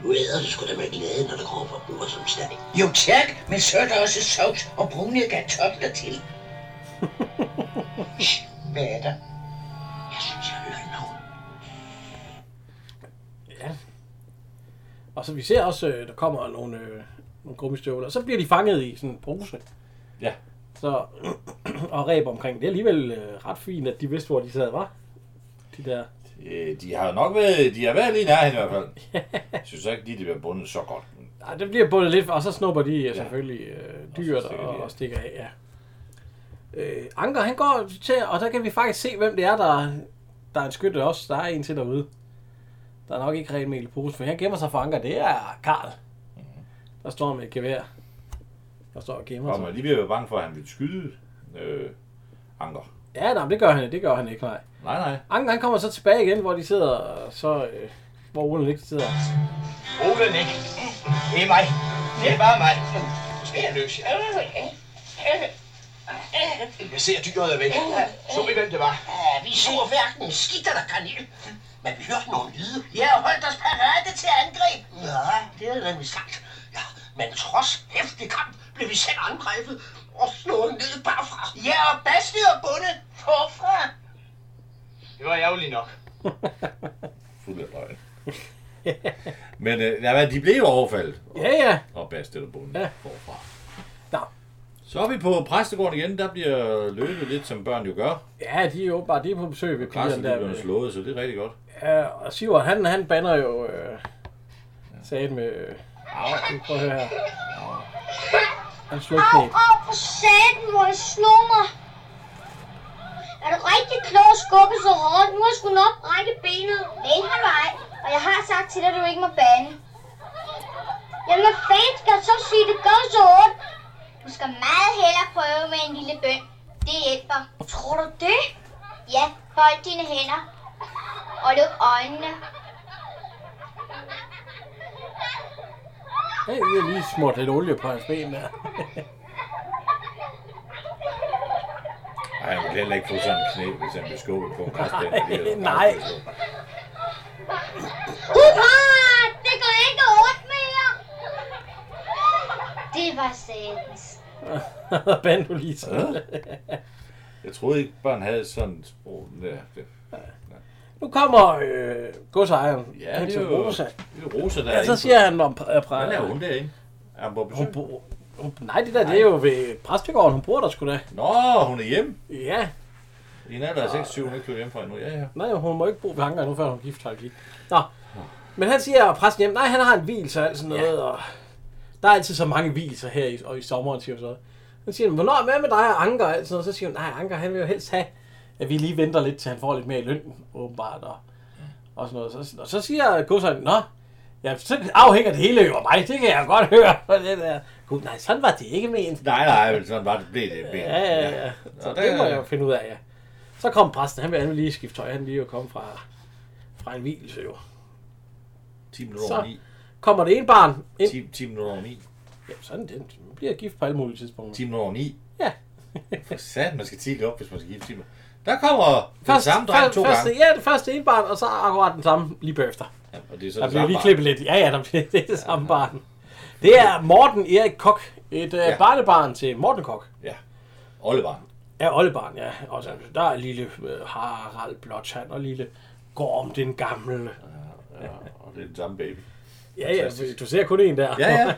Speaker 5: Nu æder du sgu da med glæde, når der kommer fra bord som steg. Jo tak, men så er der også sovs og brune kartofler til. Shh, hvad er der? Jeg synes, jeg hører en hund.
Speaker 1: Ja. Og så vi ser også, øh, der kommer nogle, øh, nogle gummistøvler. Så bliver de fanget i sådan en bruse.
Speaker 2: Ja.
Speaker 1: Så, og ræb omkring. Det er alligevel øh, ret fint, at de vidste, hvor de sad, var. De der.
Speaker 2: Øh, de har jo nok været, de har været lige nær i hvert fald. Jeg synes ikke lige, det bliver bundet så godt.
Speaker 1: Ej, det bliver bundet lidt, og så snupper de ja. selvfølgelig øh, dyret og,
Speaker 2: stikker de af.
Speaker 1: og stikker af. Ja. Øh, Anker, han går til, og der kan vi faktisk se, hvem det er, der, der er en skytte også. Der er en til derude. Der er nok ikke rent mel i posen, for han gemmer sig for Anker. Det er Karl.
Speaker 2: Mhm.
Speaker 1: Der står med et gevær. Der står og gemmer
Speaker 2: Og man
Speaker 1: sig.
Speaker 2: lige ved at være bange for, at han ville skyde øh, Anker.
Speaker 1: Ja, nej, men det gør han, det gør han ikke, nej.
Speaker 2: Nej, nej.
Speaker 1: Anker, han kommer så tilbage igen, hvor de sidder, og så, øh, hvor Ole ikke sidder.
Speaker 7: Ole Nick. Det er mig. Det er bare mig. Skal jeg løs? Jeg ser dyret er væk. Så vi hvem det var.
Speaker 5: Ja, vi så hverken skidt eller kanel. Men vi hørte nogle lyde. Ja, og holdt os parate til angreb. Ja, det havde nemlig sagt. Ja, men trods hæftig kamp blev vi selv angrebet og slået ned bagfra. Ja, og bastet og bundet forfra.
Speaker 7: Det var ærgerligt nok.
Speaker 2: Fuld af løgn. Men øh, ja, men de blev jo overfaldet.
Speaker 1: Ja, ja.
Speaker 2: Og bastet og bunden
Speaker 1: Ja.
Speaker 2: ja. forfra.
Speaker 1: Nå.
Speaker 2: Så er vi på præstegården igen. Der bliver løbet lidt, som børn jo gør.
Speaker 1: Ja, de er jo bare de er på besøg ved pigerne
Speaker 2: Præsten
Speaker 1: der.
Speaker 2: bliver
Speaker 1: ved-
Speaker 2: slået, så det er rigtig godt.
Speaker 1: Ja, og Sivert, han, han banner jo øh, sagde med... Øh, prøv at høre her. Han slog
Speaker 8: Au,
Speaker 1: knæ.
Speaker 8: au, for satan, hvor det slog mig. Er du rigtig klog at skubbe så hårdt? Nu har jeg sgu nok brækket benet. Men har du ej, og jeg har sagt til dig, at du ikke må bande. Jamen, hvad fanden skal jeg så sige, det gør så hårdt? Du skal meget hellere prøve med en lille bøn. Det hjælper. Tror du det? Ja, hold dine hænder. Og luk øjnene.
Speaker 1: Hey, vi har lige smurt lidt olie på hans ben der.
Speaker 2: Ej, han vil heller ikke få sådan en knæ, hvis han bliver skubbet på en græsplæne. Det er jo-
Speaker 1: Nej.
Speaker 8: Hurra! Det går ikke ondt mere. Det var satans.
Speaker 1: Band du lige så.
Speaker 2: Jeg troede ikke, børn havde sådan et sprog. Ja, det,
Speaker 1: Nu kommer øh, godsejeren.
Speaker 2: ja,
Speaker 1: hen
Speaker 2: det
Speaker 1: til
Speaker 2: er jo
Speaker 1: Rosa.
Speaker 2: Det er Rosa, der
Speaker 1: Ja, så
Speaker 2: inde
Speaker 1: siger han om... Øh,
Speaker 2: på-
Speaker 1: præ-
Speaker 2: Hvad laver hun derinde? Er hun på besøg?
Speaker 1: Hun bor... Hun, nej, det der, det er jo ved præstegården. Hun bor der sgu da.
Speaker 2: Nå, hun er hjemme.
Speaker 1: Ja.
Speaker 2: I en alder af 26, hun er ikke flyttet hjemmefra endnu. Ja, ja.
Speaker 1: Nej, hun må ikke bo ved Anker nu, før hun er gift, har jeg lige. Nå. Men han siger, at præsten hjem, nej, han har en hvilelse og alt sådan noget, og der er altid så mange hvilelser her i, og i sommeren, siger hun så. Så siger han, hvornår hvad med dig og Anker og alt sådan noget? Så siger hun, nej, Anker, han vil jo helst have, at vi lige venter lidt, til han får lidt mere i løn, åbenbart, og, og sådan noget. Så, og så siger Gustav, nå, ja, så afhænger det hele jo af mig, det kan jeg godt høre. Og det der. Gud, nej, sådan var det ikke ment.
Speaker 2: Nej, nej, men sådan var det blev det.
Speaker 1: Ja, ja, ja. Så
Speaker 2: Nå,
Speaker 1: det må
Speaker 2: der-
Speaker 1: jeg jo finde ud af, ja. Så kom præsten, han vil han vil lige skifte tøj, han lige jo komme fra, fra en hvilelse jo.
Speaker 2: 10 minutter
Speaker 1: Så.
Speaker 2: over 9.
Speaker 1: Kommer det ene barn ind,
Speaker 2: 10, 10 minutter over 9.
Speaker 1: ja, sådan det, nu bliver jeg gift på alle mulige tidspunkter.
Speaker 2: 10 minutter over 9.
Speaker 1: Ja.
Speaker 2: For sat, man skal tidligt op, hvis man skal give 10 minutter. Der kommer den
Speaker 1: Først,
Speaker 2: samme dreng
Speaker 1: først,
Speaker 2: to
Speaker 1: første,
Speaker 2: gange.
Speaker 1: ja, det første ene barn, og så akkurat den samme lige bagefter.
Speaker 2: Ja, og det er så
Speaker 1: Der
Speaker 2: det
Speaker 1: bliver
Speaker 2: samme
Speaker 1: lige
Speaker 2: barn.
Speaker 1: klippet lidt. Ja, ja, der bliver, det er det samme barn. Det er Morten Erik Kok, et ja.
Speaker 2: Ja.
Speaker 1: barnebarn til Morten Kok.
Speaker 2: Ja. Oliver.
Speaker 1: Ja, oldebarn, ja. Og så, der er lille øh, Harald Blåtand og lille Gorm den gamle.
Speaker 2: Ja, og det er den samme baby.
Speaker 1: Ja, ja,
Speaker 2: Fantastisk.
Speaker 1: du ser kun en der.
Speaker 2: Ja, ja.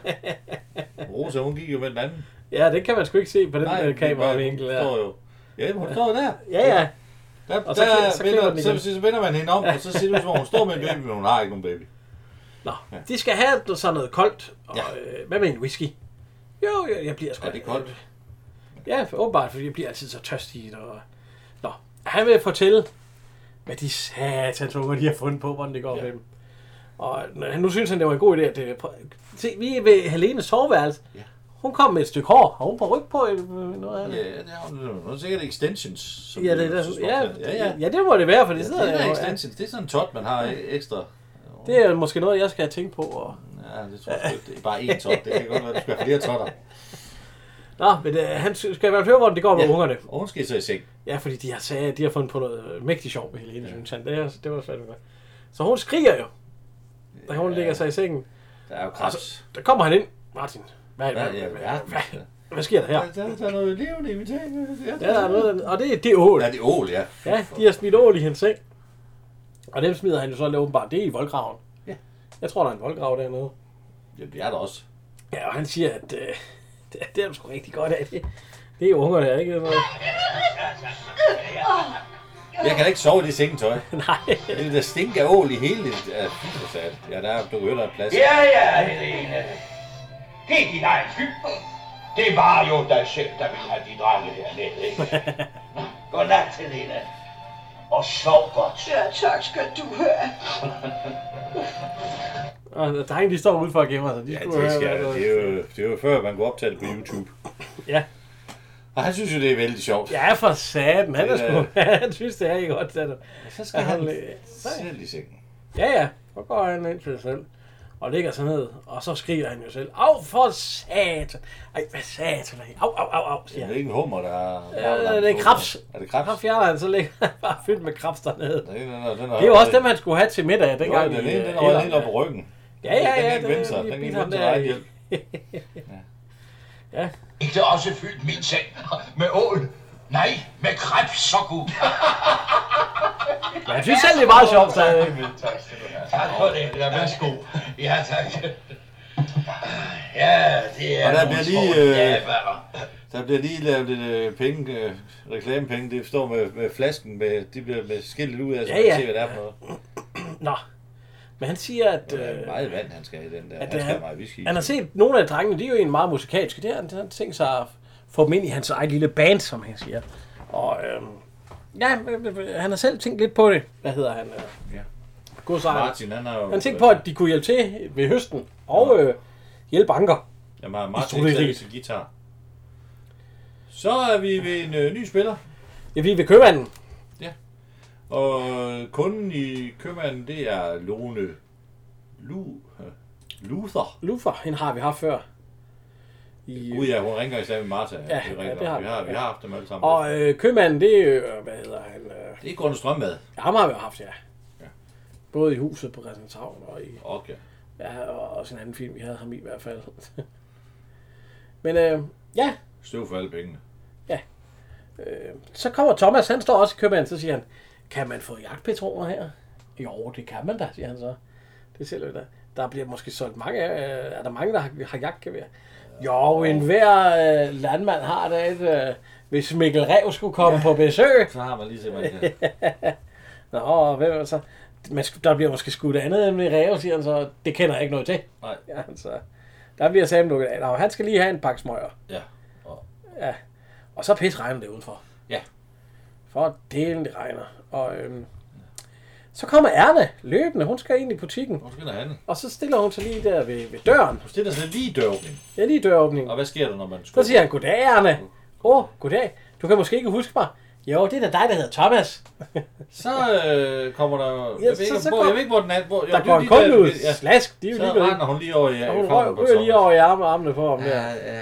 Speaker 2: Rosa, hun gik jo med den anden.
Speaker 1: Ja, det kan man sgu ikke se på den
Speaker 2: Nej,
Speaker 1: Nej,
Speaker 2: det
Speaker 1: kameravinkel
Speaker 2: Hun står
Speaker 1: der.
Speaker 2: jo. Ja, hun står jo der.
Speaker 1: Ja, ja.
Speaker 2: Der,
Speaker 1: Og
Speaker 2: og
Speaker 1: så
Speaker 2: så,
Speaker 1: klipper-
Speaker 2: der
Speaker 1: så
Speaker 2: så,
Speaker 1: klipper
Speaker 2: vender,
Speaker 1: den
Speaker 2: så,
Speaker 1: igen.
Speaker 2: så, vender man hende om, og så ser det ud som om, hun står med en baby, men hun har ikke nogen baby.
Speaker 1: Nå, de skal have noget- sådan noget koldt. Og,
Speaker 2: Ja.
Speaker 1: øh, hvad med en whisky? Jo, jeg, jeg bliver sgu...
Speaker 2: Er det koldt?
Speaker 1: Ja, for- åbenbart, fordi jeg bliver altid så tørstig. Og... Nå, han vil fortælle, hvad de satans unger, de har fundet på, hvordan det går ja.
Speaker 2: Ja.
Speaker 1: med dem. øh, Og nu- nu synes han, det var en god idé. At det... prøv- Se, vi er ved Helenes soveværelse. Ja. Hun kom med et stykke hår. Har hun på ryg på? Eller noget af det?
Speaker 2: Ja, det har hun. Hun har sikkert extensions. Som
Speaker 1: Ja, det, det,
Speaker 2: som-
Speaker 1: ja,
Speaker 2: ja, ja.
Speaker 1: ja, det må det være, for det
Speaker 2: Det
Speaker 1: sidder
Speaker 2: er
Speaker 1: jo-
Speaker 2: extensions. Det er sådan en tot, man har ekstra.
Speaker 1: Det er måske noget, jeg skal tænke på. Og...
Speaker 2: Ja, det tror jeg sgu ikke. Det er bare én tot. Det kan godt være, du skal have flere totter.
Speaker 1: Nå, men øh, han sy- skal i hvert fald høre, hvordan det går med
Speaker 2: Ja.
Speaker 1: ungerne.
Speaker 2: Og hun skal så i seng.
Speaker 1: Ja, fordi de har, sag, de har fundet på noget øh, mægtig sjov med Helene, ja. synes han. Det, er- det var fandme godt. Så hun skriger jo, da hun ja. ligger sig i sengen.
Speaker 2: Der er jo krebs.
Speaker 1: Der kommer han ind. Martin, hvad, hvad,
Speaker 2: Hvad i
Speaker 1: hvad, Altså, hvad,
Speaker 2: alverden? altså?
Speaker 1: hvad, hvad sker der her?
Speaker 2: Der, der, der er noget levende i mit tag.
Speaker 1: Ja, der er noget, og det, det er ål.
Speaker 2: Ja, det er ål, ja.
Speaker 1: Ja, de har smidt ål i hendes seng. Og dem smider han jo så åbenbart. Det er i voldgraven.
Speaker 2: Ja.
Speaker 1: Jeg tror, der er en voldgrav dernede.
Speaker 2: Jamen, det er der også.
Speaker 1: Ja, og han siger, at øh, det, det er du sgu rigtig godt af. Det, det er unger der, ikke? Så,
Speaker 2: Jeg kan da ikke sove i det sengetøj.
Speaker 1: nej.
Speaker 2: Det der stink af ål i hele... Ja, fy for sat. Ja, der er du kan høre, der er plads.
Speaker 7: Ja, ja, Helene. Det er din egen skyld. Det var jo dig selv, der ville have de drenge hernede, ikke? Nå, Godnat, Helene. Og sov godt.
Speaker 5: Ja, tak skal du have.
Speaker 1: Og drengene, de står udenfor og gemmer sig. De
Speaker 2: Ja,
Speaker 1: skulle
Speaker 2: det,
Speaker 1: høre,
Speaker 2: skal,
Speaker 1: hvad der-
Speaker 2: det, er jo, det er jo før, man kunne optage det på YouTube.
Speaker 1: Ja.
Speaker 2: Og han synes jo, det er vældig sjovt.
Speaker 1: Ja, for satan. Han, er
Speaker 2: Det
Speaker 1: sgu, han synes, det er ikke godt. Det er
Speaker 2: Så skal
Speaker 1: Ja, han,
Speaker 2: han
Speaker 1: øh,
Speaker 2: selv i sengen.
Speaker 1: ja, ja. Så går han ind til sig selv og ligger sig ned, og så skriger han jo selv, Au, for satan! Ej, hvad satan er det? Au, au, au, au,
Speaker 2: Det
Speaker 1: siger
Speaker 2: er
Speaker 1: han.
Speaker 2: jo ikke en hummer, der har...
Speaker 1: Ja, Øh, det er krebs.
Speaker 2: Er det
Speaker 1: Så
Speaker 2: krebs?
Speaker 1: fjerner han, så ligger han bare fyldt med krebs dernede.
Speaker 2: Den er, den
Speaker 1: Det er jo også dem, han skulle have til middag
Speaker 2: Jo,
Speaker 1: dengang.
Speaker 2: den
Speaker 1: i,
Speaker 2: ene,
Speaker 1: øh,
Speaker 2: den er helt
Speaker 1: Irland.
Speaker 2: oppe på ryggen.
Speaker 1: Ja, ja,
Speaker 2: Den
Speaker 1: ja.
Speaker 2: kan ikke
Speaker 1: det-
Speaker 2: vende sig.
Speaker 1: vi
Speaker 2: Den kan
Speaker 1: bilder
Speaker 2: ikke
Speaker 1: ham
Speaker 2: vende sig
Speaker 1: der
Speaker 2: egen
Speaker 1: i-
Speaker 2: hjælp.
Speaker 7: Ikke det også fyldt min seng med ål? Nej, med krebs, så gud.
Speaker 1: Men han synes selv, det er meget sjovt. Så, øh,
Speaker 7: Tak skal du have. Tak for det. Ja, værsgo. Ja, tak. Ja, det er...
Speaker 2: Og der
Speaker 7: nogle
Speaker 2: bliver lige,
Speaker 7: små
Speaker 2: øh,
Speaker 7: dæver.
Speaker 2: Der bliver lige lavet lidt øh, penge, øh, reklamepenge. Det står med, med flasken, med, de bliver med skiltet ud af, så
Speaker 1: Ja, ja. Øh,
Speaker 2: man kan se, hvad det er for noget.
Speaker 1: Nå. Men han siger, at...
Speaker 2: Det
Speaker 1: Øh,
Speaker 2: er meget vand, han skal have i den der.
Speaker 1: at
Speaker 2: Han skal
Speaker 1: han,
Speaker 2: have meget whisky. i.
Speaker 1: han har set nogle af drengene, de er jo egentlig meget musikalske. Det har han, han tænkt sig at få dem ind i hans eget lille band, som han siger. Og øhm, ja, øh, øh, han har selv tænkt lidt på det. Hvad hedder han? Øh?
Speaker 2: Ja.
Speaker 1: God sejr.
Speaker 2: Martin, han har jo...
Speaker 1: Han tænkte på, at de kunne hjælpe til ved høsten og øh, hjælpe Anker.
Speaker 2: Jamen, har
Speaker 1: I
Speaker 2: Martin
Speaker 1: troede
Speaker 2: ikke
Speaker 1: ikke
Speaker 2: taget sin guitar. Så er vi ved en øh, ny spiller.
Speaker 1: Ja, vi er ved købmanden.
Speaker 2: Og kunden i købmanden, det er Lone Lu... øh, Luther.
Speaker 1: Luther, hende har vi haft før. I,
Speaker 2: Gud ja, hun ringer i slag med Martha. Ja, det er rigtigt.
Speaker 1: det har
Speaker 2: vi,
Speaker 1: vi.
Speaker 2: har, vi har haft dem alle sammen. Og,
Speaker 1: og øh, købmanden, det er øh, hvad hedder han? Øh,
Speaker 2: det er Gordon Strømmad.
Speaker 1: ham har vi jo haft, ja. Både i huset på Christianshavn og i
Speaker 2: Okay.
Speaker 1: Ja, og også en anden film, vi havde ham i i hvert fald. Men øh, ja,
Speaker 2: Støv for alle pengene.
Speaker 1: øh, så kommer Thomas, han står også i købmanden, så siger han, kan man få jagtpatroner her? Jo, det kan man da, siger han så. Det sælger vi da. Der bliver måske solgt mange, øh, er der mange, der har, har jagtgevær? Jo, en hver øh, landmand har da et, øh, hvis Mikkel Rev skulle komme ja. på besøg.
Speaker 2: Så har man lige set, man kan.
Speaker 1: Nå, og hvem er så? Man, sk- der bliver måske skudt andet end med Rev, siger han så. Det kender jeg ikke noget til.
Speaker 2: Nej.
Speaker 1: Ja, altså, der bliver Sam lukket af. Nå, han skal lige have en pakke smøger.
Speaker 2: Ja.
Speaker 1: Ja. Og så pis regner det udenfor.
Speaker 2: Ja.
Speaker 1: For delen det regner. Og øhm, så kommer Erna løbende. Hun skal ind i butikken.
Speaker 2: Hun skal der handle.
Speaker 1: Og så stiller hun sig lige der ved, ved døren.
Speaker 2: Hun stiller sig lige i døråbningen.
Speaker 1: Ja, lige i døråbningen.
Speaker 2: Og hvad sker der, når man
Speaker 1: Så
Speaker 2: skubber?
Speaker 1: siger han, goddag Erna. Åh, oh, goddag. Du kan måske ikke huske mig. Jo, det er da dig, der hedder Thomas.
Speaker 2: Så øh, kommer der...
Speaker 1: Ja,
Speaker 2: Jeg ved,
Speaker 1: så-
Speaker 2: ikke,
Speaker 1: så
Speaker 2: hvor,
Speaker 1: går-
Speaker 2: jeg ved ikke, hvor den er. Hvor, jo,
Speaker 1: Der
Speaker 2: det er
Speaker 1: går
Speaker 2: jo
Speaker 1: en
Speaker 2: lige
Speaker 1: kunde ud.
Speaker 2: Ja.
Speaker 1: Slask. De er jo
Speaker 2: Så
Speaker 1: ligeglade.
Speaker 2: render hun lige over i
Speaker 1: Og
Speaker 2: ja,
Speaker 1: hun røg, ryger lige over i armene, armene på ham der.
Speaker 2: Ja, ja,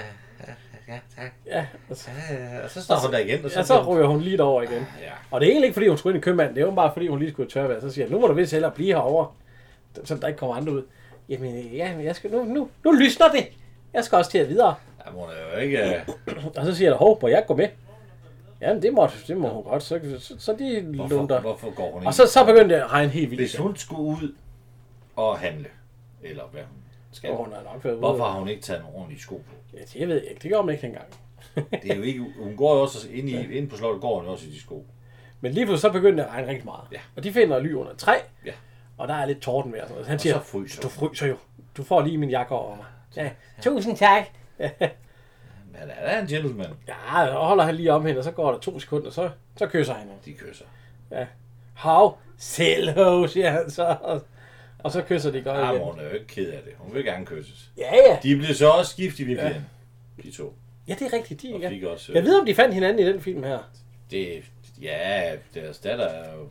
Speaker 2: ja, tak.
Speaker 1: Ja, og så,
Speaker 2: Ja, og så står hun der igen, og så...
Speaker 1: ja, så ryger hun lige over igen.
Speaker 2: Ja.
Speaker 1: Og det er egentlig ikke, fordi hun skulle ind i købmanden. Det er jo bare, fordi hun lige skulle tørre Så siger jeg, nu må du vist hellere blive herovre. Så der ikke kommer andre ud. Jamen, øh, ja, men jeg skal, nu, nu, nu lysner det. Jeg skal også til at videre.
Speaker 2: Jamen, hun er jo ikke... øh,
Speaker 1: Og så siger jeg, hov, må jeg gå med? Jamen, det må, det må hun godt. Så, så, så de
Speaker 2: Hvorfor,
Speaker 1: lunder.
Speaker 2: hvorfor går hun
Speaker 1: Og
Speaker 2: ikke?
Speaker 1: så, så begyndte det at regne helt vildt.
Speaker 2: Hvis hun skulle ud og handle, eller hvad hun skal,
Speaker 1: Og hun har nok været ude.
Speaker 2: hvorfor har hun ikke taget nogle ordentlige sko på?
Speaker 1: Ja, det ved jeg ikke. Det gjorde man ikke dengang.
Speaker 2: Det er jo ikke, hun går jo også ind, i, ind på slottet, går hun jo også i de sko.
Speaker 1: Men lige pludselig så begyndte det at regne rigtig meget.
Speaker 2: Ja.
Speaker 1: Og de finder ly under et træ.
Speaker 2: Ja.
Speaker 1: Og der er lidt torden ved. og sådan noget. Han
Speaker 2: så
Speaker 1: siger,
Speaker 2: fryser
Speaker 1: du
Speaker 2: hun."
Speaker 1: fryser jo. Du får lige min jakke over mig. Ja, tusind tak.
Speaker 2: Men han er da en gentleman,
Speaker 1: Ja, og holder han lige om hende, og så går der to sekunder, så, så kysser han hende.
Speaker 2: de kysser.
Speaker 1: Hav, selv ho, siger han så. Og, og så kysser de godt
Speaker 2: Jamen,
Speaker 1: igen.
Speaker 2: hun er jo ikke ked af det. Hun vil gerne kysses.
Speaker 1: Ja, ja.
Speaker 2: De bliver så også gift i virkeligheden. de to.
Speaker 1: Ja, det er rigtigt. De,
Speaker 2: Og
Speaker 1: ja.
Speaker 2: fik også, øh,
Speaker 1: Jeg ved, om de fandt hinanden i den film her.
Speaker 2: Det, ja, deres datter er jo...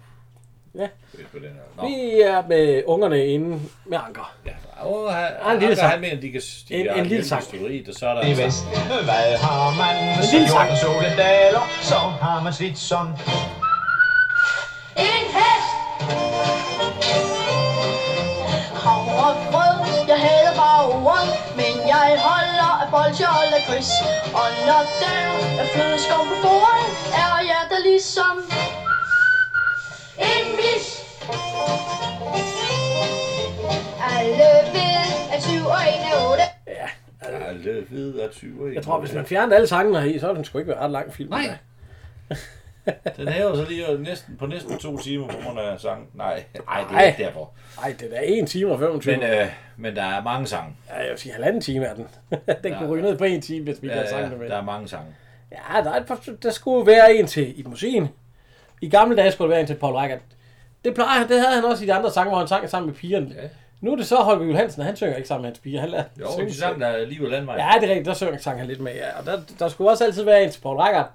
Speaker 1: Ja.
Speaker 2: Ved på den her. Nå.
Speaker 1: Vi er med ungerne inde med Anker.
Speaker 2: Ja, og han,
Speaker 1: Ah, en lille
Speaker 2: han,
Speaker 1: sang.
Speaker 2: han mener, de kan... De
Speaker 1: En-
Speaker 2: har
Speaker 1: en lille
Speaker 2: kæmpe
Speaker 1: sang.
Speaker 2: Historik, og så er der...
Speaker 10: I vest, hvad har man? Så
Speaker 1: lille sang.
Speaker 10: jorden solen daler, så har man sit som
Speaker 9: En hest!
Speaker 11: havregrød Jeg hader bare ord, men jeg holder af bolsje og lakrids Og når der er flødeskum på bordet, er jeg der ligesom en mis Alle ved, at 7 og 1 er 8
Speaker 2: Ja, lidt ved at 20.
Speaker 1: Jeg tror, hvis man fjerner alle sangene her i, så er den sgu ikke være ret lang film. Nej.
Speaker 2: Den hæver så lige næsten, på næsten to timer på grund af sang. Nej, nej, det er
Speaker 1: Ej.
Speaker 2: ikke derfor.
Speaker 1: Nej, det er 1 time og 25.
Speaker 2: Men, øh, men der er mange sange.
Speaker 1: Ja, jeg vil sige, halvanden time er den. den kunne ryge ned på en time, hvis vi ja, havde
Speaker 2: Ja,
Speaker 1: sang det med.
Speaker 2: ja, der er mange sange.
Speaker 1: Ja, der, er et, par- der skulle være en til i musikken. I gamle dage skulle der være en til Paul Reichert. Det plejer han, det havde han også i de andre sange, hvor han sang sammen med pigerne. Ja. Nu er det så Holger Juhl Hansen, og han synger ikke sammen med hans piger. Han lader
Speaker 2: Jo,
Speaker 1: dem synge
Speaker 2: de sang, der er liv og landvej.
Speaker 1: Ja, det er rigtigt. Der synger sang han lidt med. Ja. Og der, der skulle også altid være en til Paul Reichert.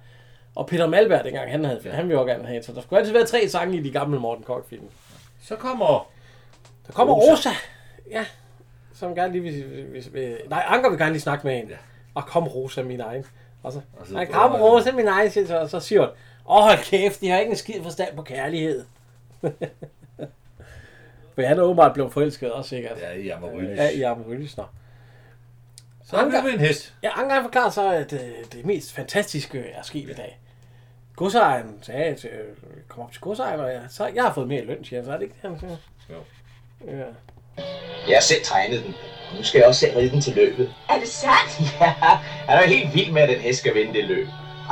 Speaker 1: Og Peter Malberg, dengang han havde, ja. han ville jo gerne have en. Så der skulle altid være tre sange i de gamle Morten kork film
Speaker 2: Så kommer...
Speaker 1: Der kommer
Speaker 2: Rosa.
Speaker 1: Rosa. Rosa. Ja. Som gerne lige vil, vil, vil, Nej, Anker vil gerne lige snakke med en. Ja. Og kom Rosa, min egen. Og så,
Speaker 2: Og
Speaker 1: og
Speaker 2: så-
Speaker 1: så kom Rosa, min egen, siger, så, og så siger hun, åh, hold kæft, de har ikke en skid forstand på kærlighed. For han er åbenbart blevet forelsket også, sikkert.
Speaker 2: Ja, i Amaryllis.
Speaker 1: Ja, i Amaryllis, nå.
Speaker 2: Så er vi en hest.
Speaker 1: Ja, Anker han forklarer så, at øh, det mest fantastiske er sket i dag. Godsejeren sagde, at øh, kom op til godsejeren, og jeg, så, jeg har fået mere i løn, siger han. Så er det ikke det, han siger?
Speaker 2: Jo.
Speaker 1: Ja.
Speaker 10: Jeg har selv tegnet den, og nu skal jeg også selv ride den til løbet.
Speaker 11: Er det sandt?
Speaker 10: Ja, han er helt vild med, at den hest skal vinde det løb.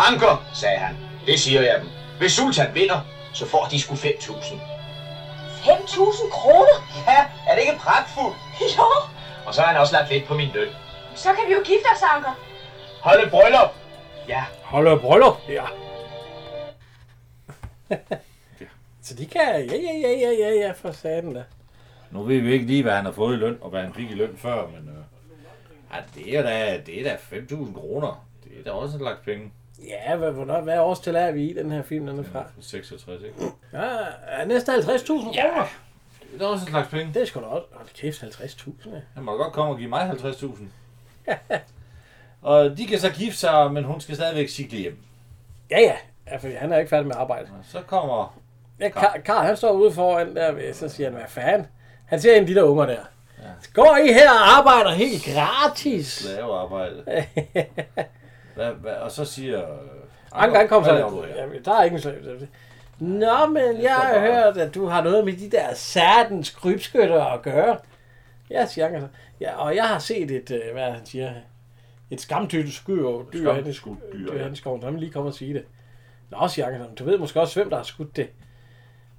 Speaker 10: Anker, sagde han. Det siger jeg dem. Hvis Sultan vinder, så får de sgu 5.000.
Speaker 11: 5.000 kroner?
Speaker 10: Ja, er det ikke pragtfuldt?
Speaker 11: Jo,
Speaker 10: Og så har han også lagt lidt på min løn.
Speaker 11: så kan vi jo gifte os, Anker.
Speaker 10: Hold et bryllup! Ja,
Speaker 1: Hold op, hold op. Ja. Så de kan, ja, ja, ja, ja, ja, ja, for satan da.
Speaker 2: Nu ved vi ikke lige, hvad han har fået i løn, og hvad han fik i løn før, men... Øh, ja, det er da, det er da 5.000 kroner. Det er da også en lagt penge.
Speaker 1: Ja, hvad, hvornår, hvad årstal er vi i den her film, den er fra?
Speaker 2: 66, ikke?
Speaker 1: Ja, er næsten 50.000 kroner.
Speaker 2: Det er da også en slags penge.
Speaker 1: Det er sgu da også. Hold kæft, 50.000. ja.
Speaker 2: Han må da godt komme og give mig 50.000. og de kan så gifte sig, men hun skal stadigvæk cykle hjem.
Speaker 1: Ja, ja. Ja, for han er ikke færdig med arbejde.
Speaker 2: Og så kommer...
Speaker 1: Ja, Karl, Karl han står ude foran der, ved- så siger han, hvad fanden? Han ser en af de der unger der. Går I her og arbejder helt gratis?
Speaker 2: Slavearbejde. Hvad, hvad, og så siger... øh,
Speaker 1: Anker, han kom
Speaker 2: hvad
Speaker 1: så.
Speaker 2: laver du her?
Speaker 1: Jamen, der er ingen slave. Nå, men jeg har hørt, at du har noget med de der særtens krybskytter at gøre. Ja, siger Anker så. Ja, og jeg har set et, øh, hvad er det, han siger, et skamtydt skyr, dyr, han i
Speaker 2: Skamskudt dyr,
Speaker 1: dyr,
Speaker 2: ja.
Speaker 1: han i skoven. Så Han vil lige komme og sige det. Nå, siger Anker så. "Men Du ved måske også, hvem der har skudt det.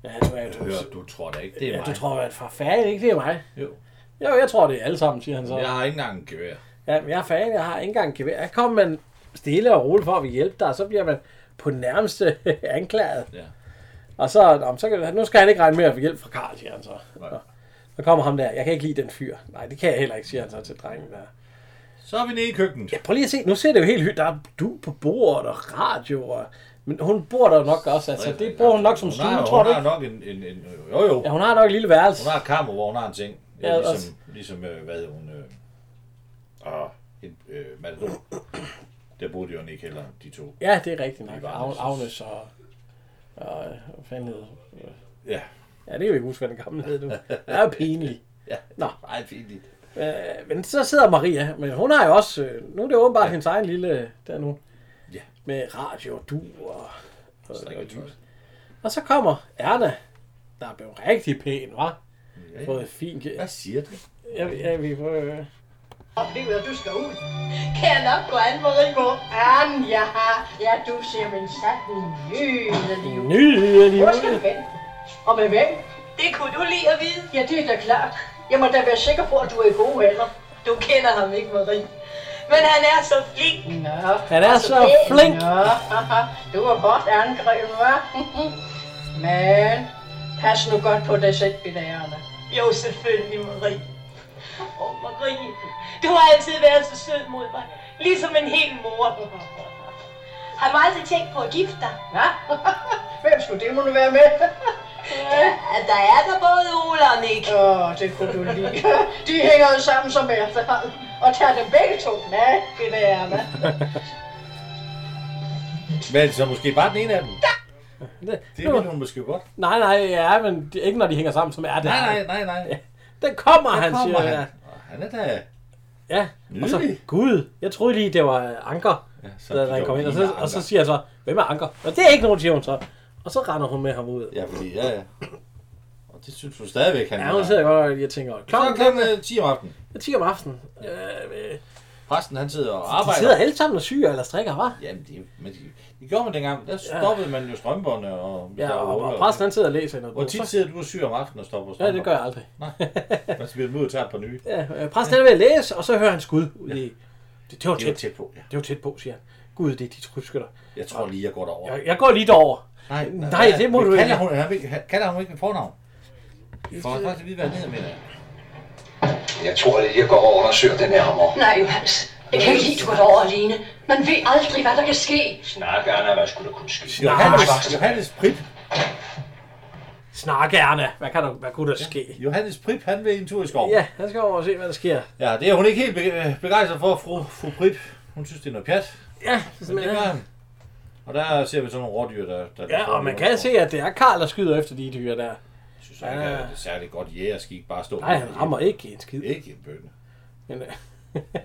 Speaker 1: Ja, du, er, du,
Speaker 2: Hør, du tror da ikke, det er
Speaker 1: ja,
Speaker 2: mig.
Speaker 1: du tror, at for fanden ikke, det er mig.
Speaker 2: Jo.
Speaker 1: Jo, jeg tror, det er alle sammen, siger han så.
Speaker 2: Jeg har ikke engang en gevær.
Speaker 1: Ja, men jeg er fan, jeg har ikke engang en gevær. Jeg kom man stille og roligt for at vi hjælpe dig, og så bliver man på den nærmeste anklaget.
Speaker 2: Ja.
Speaker 1: Og så, nå, men så kan, nu skal han ikke regne med at få hjælp fra Karl, siger han så.
Speaker 2: Nej.
Speaker 1: Nå. Så kommer ham der, jeg kan ikke lide den fyr. Nej, det kan jeg heller ikke, siger han så til drengen der.
Speaker 2: Så er vi nede i køkkenet.
Speaker 1: Ja, prøv lige at se, nu ser det jo helt hyggeligt. Der er du på bordet og radio, og, men hun bor der jo nok også, altså det bor hun nok som
Speaker 2: Hun
Speaker 1: stue,
Speaker 2: har, jo-
Speaker 1: tror
Speaker 2: hun
Speaker 1: du
Speaker 2: har
Speaker 1: ikke?
Speaker 2: nok en, en, en... Jo, jo.
Speaker 1: Ja, hun har nok et lille værelse.
Speaker 2: Hun har et kammer, hvor hun har en ting. Ja,
Speaker 1: Ja,
Speaker 2: ligesom,
Speaker 1: også.
Speaker 2: ligesom øh, hvad hedder hun... Øh, og en øh, matador. Der boede de jo ikke heller, de to.
Speaker 1: Ja, det er rigtigt nok.
Speaker 2: var
Speaker 1: Agnes,
Speaker 2: Agnes'
Speaker 1: Agnes og... og øh, hvad fanden hed hun?
Speaker 2: Ja.
Speaker 1: Ja, det kan vi ikke huske, hvad den gamle hed nu. Det er jo pinligt.
Speaker 2: Ja,
Speaker 1: Nå.
Speaker 2: Ej, fint.
Speaker 1: Øh, men så sidder Maria, men hun har jo også... Øh, nu er det åbenbart ja. hendes egen lille... Der nu.
Speaker 2: Ja.
Speaker 1: Med radio og du og... og,
Speaker 2: Strikketøj.
Speaker 1: og så kommer Erna, der er blevet rigtig pæn, hva'?
Speaker 2: Ja, ja.
Speaker 1: Fået fint...
Speaker 2: Hvad siger du?
Speaker 1: Jeg, jeg, vi får... Øh,
Speaker 11: oplever, at du skal ud. Kan jeg nok gå an, Marie? Gå an, jeg har. Ja, du ser min satten nydelig ud.
Speaker 1: nydelig.
Speaker 11: Hvor skal du hen? Og med hvem? Det kunne du lige at vide. Ja, det er da klart. Jeg må da være sikker på, at du er i god alder. Du kender ham ikke, Marie. Men han er så flink. Nå,
Speaker 1: Han er
Speaker 11: og
Speaker 1: så
Speaker 11: pæn.
Speaker 1: flink.
Speaker 11: Nå, haha. du var godt angrebet, hva'? Men pas nu godt på dig selv, Bidærerne. Jo, selvfølgelig, Marie. Åh, Marie, du har altid været så sød mod mig.
Speaker 12: Ligesom en hel mor.
Speaker 13: Har du aldrig tænkt på at gifte dig?
Speaker 12: Ja. Hvem skulle det måtte være med?
Speaker 13: Ja, der er der både Ole og Nick.
Speaker 12: Åh, oh, det kunne du lide. De hænger jo sammen som efterhånden. Og tager dem begge to. Nej, det er med.
Speaker 2: Men så måske bare den ene af dem.
Speaker 1: Det,
Speaker 2: Det vil hun måske godt.
Speaker 1: Nej, nej, ja, men det er ikke når de hænger sammen, som er det.
Speaker 2: Nej, nej, nej, nej.
Speaker 1: Ja. Den kommer,
Speaker 2: Der
Speaker 1: han,
Speaker 2: kommer
Speaker 1: siger
Speaker 2: han. Og han er da...
Speaker 1: Ja, og så,
Speaker 2: Nydelig.
Speaker 1: gud, jeg troede lige, det var øh, Anker, ja,
Speaker 2: så
Speaker 1: så
Speaker 2: fik
Speaker 1: der,
Speaker 2: jeg
Speaker 1: han kom
Speaker 2: jo
Speaker 1: ind. Og
Speaker 2: lige
Speaker 1: så,
Speaker 2: med
Speaker 1: og så
Speaker 2: Anker.
Speaker 1: siger jeg så, hvem er Anker? Og det er ikke nogen, siger hun så. Og så render hun med ham ud.
Speaker 2: Ja, fordi, ja, ja. Og det synes du stadigvæk, han
Speaker 1: Ja, hun sidder godt, og jeg tænker, klokken,
Speaker 2: klokken, klokken 10 om aftenen.
Speaker 1: Ja, 10 om aftenen. Øh, øh,
Speaker 2: Præsten, han sidder og
Speaker 1: de
Speaker 2: arbejder.
Speaker 1: sidder alle sammen og syger eller strikker, hva'?
Speaker 2: Jamen, det, men det, det gjorde man dengang. Der stoppede man jo strømperne og...
Speaker 1: Ja, og, og præsten han sidder og læser i noget.
Speaker 2: Hvor tit
Speaker 1: Så-
Speaker 2: sidder du og syr om aftenen og stopper
Speaker 1: Ja,
Speaker 2: strømper?
Speaker 1: det gør jeg aldrig.
Speaker 2: Nej, man spiller dem ud og tager et par nye.
Speaker 1: Ja, øh, præsten han er ved at læse, og så hører han skud ud i... Det, det var
Speaker 2: Det var
Speaker 1: tæt.
Speaker 2: tæt på, ja.
Speaker 1: Det var tæt på, siger han. Gud, det er de krybskytter.
Speaker 2: Jeg tror lige, jeg går derover.
Speaker 1: Jeg, jeg går lige derover.
Speaker 2: Nej,
Speaker 1: nej, det må
Speaker 2: men
Speaker 1: du
Speaker 2: kalder
Speaker 1: ikke.
Speaker 2: Hun, han, vil- han- kalder hun ikke med fornavn? Vi får faktisk at vide, hvad han hedder med det.
Speaker 10: Jeg tror lige, jeg går over og undersøger den her hammer.
Speaker 6: Nej, Johans. Jeg kan ikke lide, du går derover alene. Man ved aldrig, hvad der kan ske.
Speaker 10: Snak, Anna, hvad skulle der kunne ske?
Speaker 2: Johannes, Johannes Prip.
Speaker 1: Snak gerne. Hvad, kan der, hvad kunne der ske?
Speaker 2: Johannes Prip, han vil en tur i skoven.
Speaker 1: Ja, han skal over og se, hvad der sker.
Speaker 2: Ja, det er hun ikke helt be- øh, begejstret for, fru, fru Prip. Hun synes, det er noget pjat.
Speaker 1: Ja,
Speaker 2: Men det gør han. Og der ser vi sådan nogle rådyr, der... der
Speaker 1: øh, Ja, og man kan se, at det er Karl, der skyder efter de dyr der.
Speaker 2: synes, han ikke, at det er særlig godt jægerskik bare at stå...
Speaker 1: Nej, han rammer ikke en skid.
Speaker 2: Ikke en bønne.
Speaker 1: Men, øh,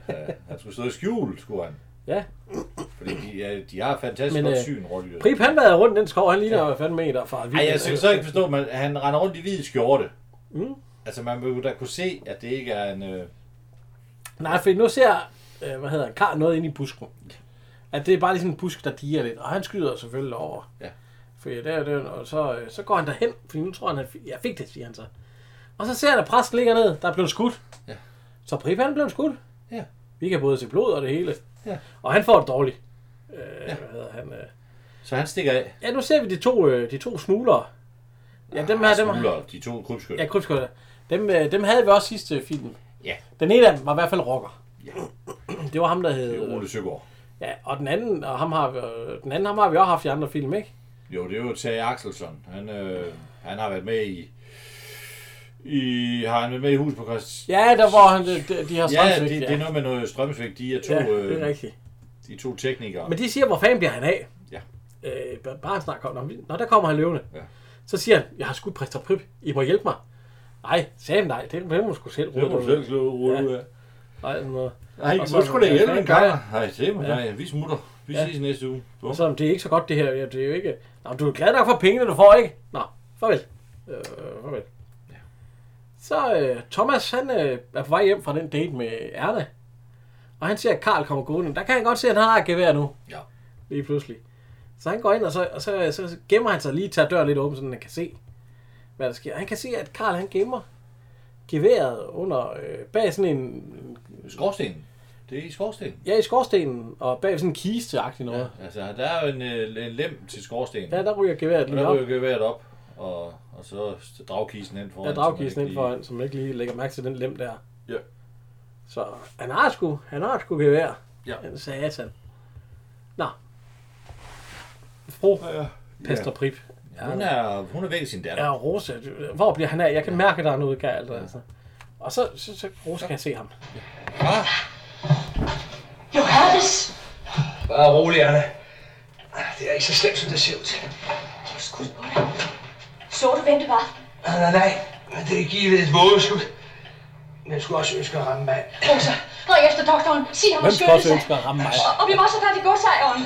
Speaker 2: Ja, han skulle stå i skjul, skulle han.
Speaker 1: ja,
Speaker 2: Fordi de, ja, de har fantastisk
Speaker 1: men
Speaker 2: godt
Speaker 1: øh,
Speaker 2: syn, rådyr.
Speaker 1: Prip han været rundt den skov, han ligner jo fandme meter fra
Speaker 2: Nej, jeg synes så ikke forstå, men han render rundt i hvid skjorte.
Speaker 1: Mm.
Speaker 2: Altså, man vil jo da kunne se, at det ikke er en... Øh,
Speaker 1: Nej, for nu ser, øh, hvad hedder han, Karl noget inde i busken. At det er bare lige sådan en busk, der diger lidt. Og han skyder selvfølgelig over.
Speaker 2: Ja.
Speaker 1: For ja, der er den, og så, øh, så går han derhen, for nu tror han, han fik, jeg fik det, siger han så. Og så ser han, at præsten ligger ned, der er blevet skudt.
Speaker 2: Ja.
Speaker 1: Så Prip han er blevet skudt.
Speaker 2: Ja.
Speaker 1: Vi kan både se blod og det hele.
Speaker 2: Ja.
Speaker 1: Og han får det dårligt. Øh, ja. Hvad hedder han? Øh,
Speaker 2: så han stikker af.
Speaker 1: Ja, nu ser vi de to, øh, de to smuglere. Ja, dem her, dem
Speaker 2: Smugler, de to krybskytter.
Speaker 1: Ja, krybskytter. Dem, øh, dem havde vi også sidste film.
Speaker 2: Ja.
Speaker 1: Den ene af dem var i hvert fald rocker.
Speaker 2: Ja.
Speaker 1: Det var ham, der hed...
Speaker 2: Det er Ole Søgaard.
Speaker 1: Ja, og den anden, og ham har, vi, øh, den anden ham har vi også haft i andre film, ikke?
Speaker 2: Jo, det er jo Tage Axelsson. Han, øh, han har været med i... I, har han været med i hus på Christ...
Speaker 1: Ja, der hvor han, de, de har
Speaker 2: ja,
Speaker 1: strømsvigt,
Speaker 2: det,
Speaker 1: ja.
Speaker 2: det, er noget med noget strømsvigt. De er to,
Speaker 1: Ja, det er
Speaker 2: øh,
Speaker 1: rigtigt.
Speaker 2: de er to teknikere.
Speaker 1: Men de siger, hvor fanden bliver han af?
Speaker 2: Ja.
Speaker 1: Øh, b- bare snart kommer han. Nå, der kommer han løvende.
Speaker 2: Ja.
Speaker 1: Så siger han, jeg har skudt præster Prip. I må hjælpe mig. Nej, sagde han nej. Det det må du sgu selv
Speaker 2: Det må du selv slå rulle ud af.
Speaker 1: Nej, sådan noget.
Speaker 2: Nej,
Speaker 1: Og
Speaker 2: du
Speaker 1: så-
Speaker 2: skulle da hjælpe en
Speaker 1: Ja.
Speaker 2: gang. Nej, det må nej. Vi smutter. Vi
Speaker 1: Ja.
Speaker 2: ses næste uge.
Speaker 1: Og så, det er ikke så godt det her, ja, det er jo ikke... Nå, men du er glad nok for pengene, du får, ikke? Nå, farvel. Øh, farvel. Så øh, Thomas, han øh, er på vej hjem fra den date med Erna. Og han ser, at Karl kommer gående. Der kan han godt se, at han har et gevær nu.
Speaker 2: Ja.
Speaker 1: Lige pludselig. Så han går ind, og så, og så, så gemmer han sig lige, tager døren lidt åben, så han kan se, hvad der sker. Han kan se, at Karl han gemmer geværet under, øh, bag sådan en...
Speaker 2: Skorstenen. Det er i skorstenen.
Speaker 1: Ja, i skorstenen, og bag sådan en kiste-agtig noget.
Speaker 2: Altså, der er jo en, øh, en lem til skorstenen.
Speaker 1: Ja, der ryger geværet
Speaker 2: Og
Speaker 1: lige
Speaker 2: der
Speaker 1: op.
Speaker 2: ryger geværet op, og, og så dragkisten ind foran.
Speaker 1: Ja,
Speaker 2: så man ikke
Speaker 1: dragkisten ind
Speaker 2: lige-
Speaker 1: foran, som ikke lige lægger mærke til den lem der.
Speaker 2: Ja.
Speaker 1: Så han har sgu, han har sgu gevær.
Speaker 2: Ja.
Speaker 1: Han sagde sådan. Nå. Fru
Speaker 2: ja.
Speaker 1: Pester Prip.
Speaker 2: Ja, hun er, hun er væk i sin datter.
Speaker 1: Ja, Rosa, du- hvor bliver han af? Jeg kan mærke, der er noget galt. Altså. Og så, så, så Rosa kan jeg se ham.
Speaker 5: Johannes!
Speaker 10: Bare rolig, Anna. Det er ikke så slemt, som det ser ud til.
Speaker 5: Skud på
Speaker 13: Så du, hvem det var?
Speaker 10: Ah, Nej, nej, nej. Men det er givet et vågeskud. Men jeg skulle også ønske at ramme mig.
Speaker 13: Rosa, ring efter doktoren. Sig ham at skynde sig.
Speaker 1: at ramme mig?
Speaker 13: Og vi må også tage til godsejeren.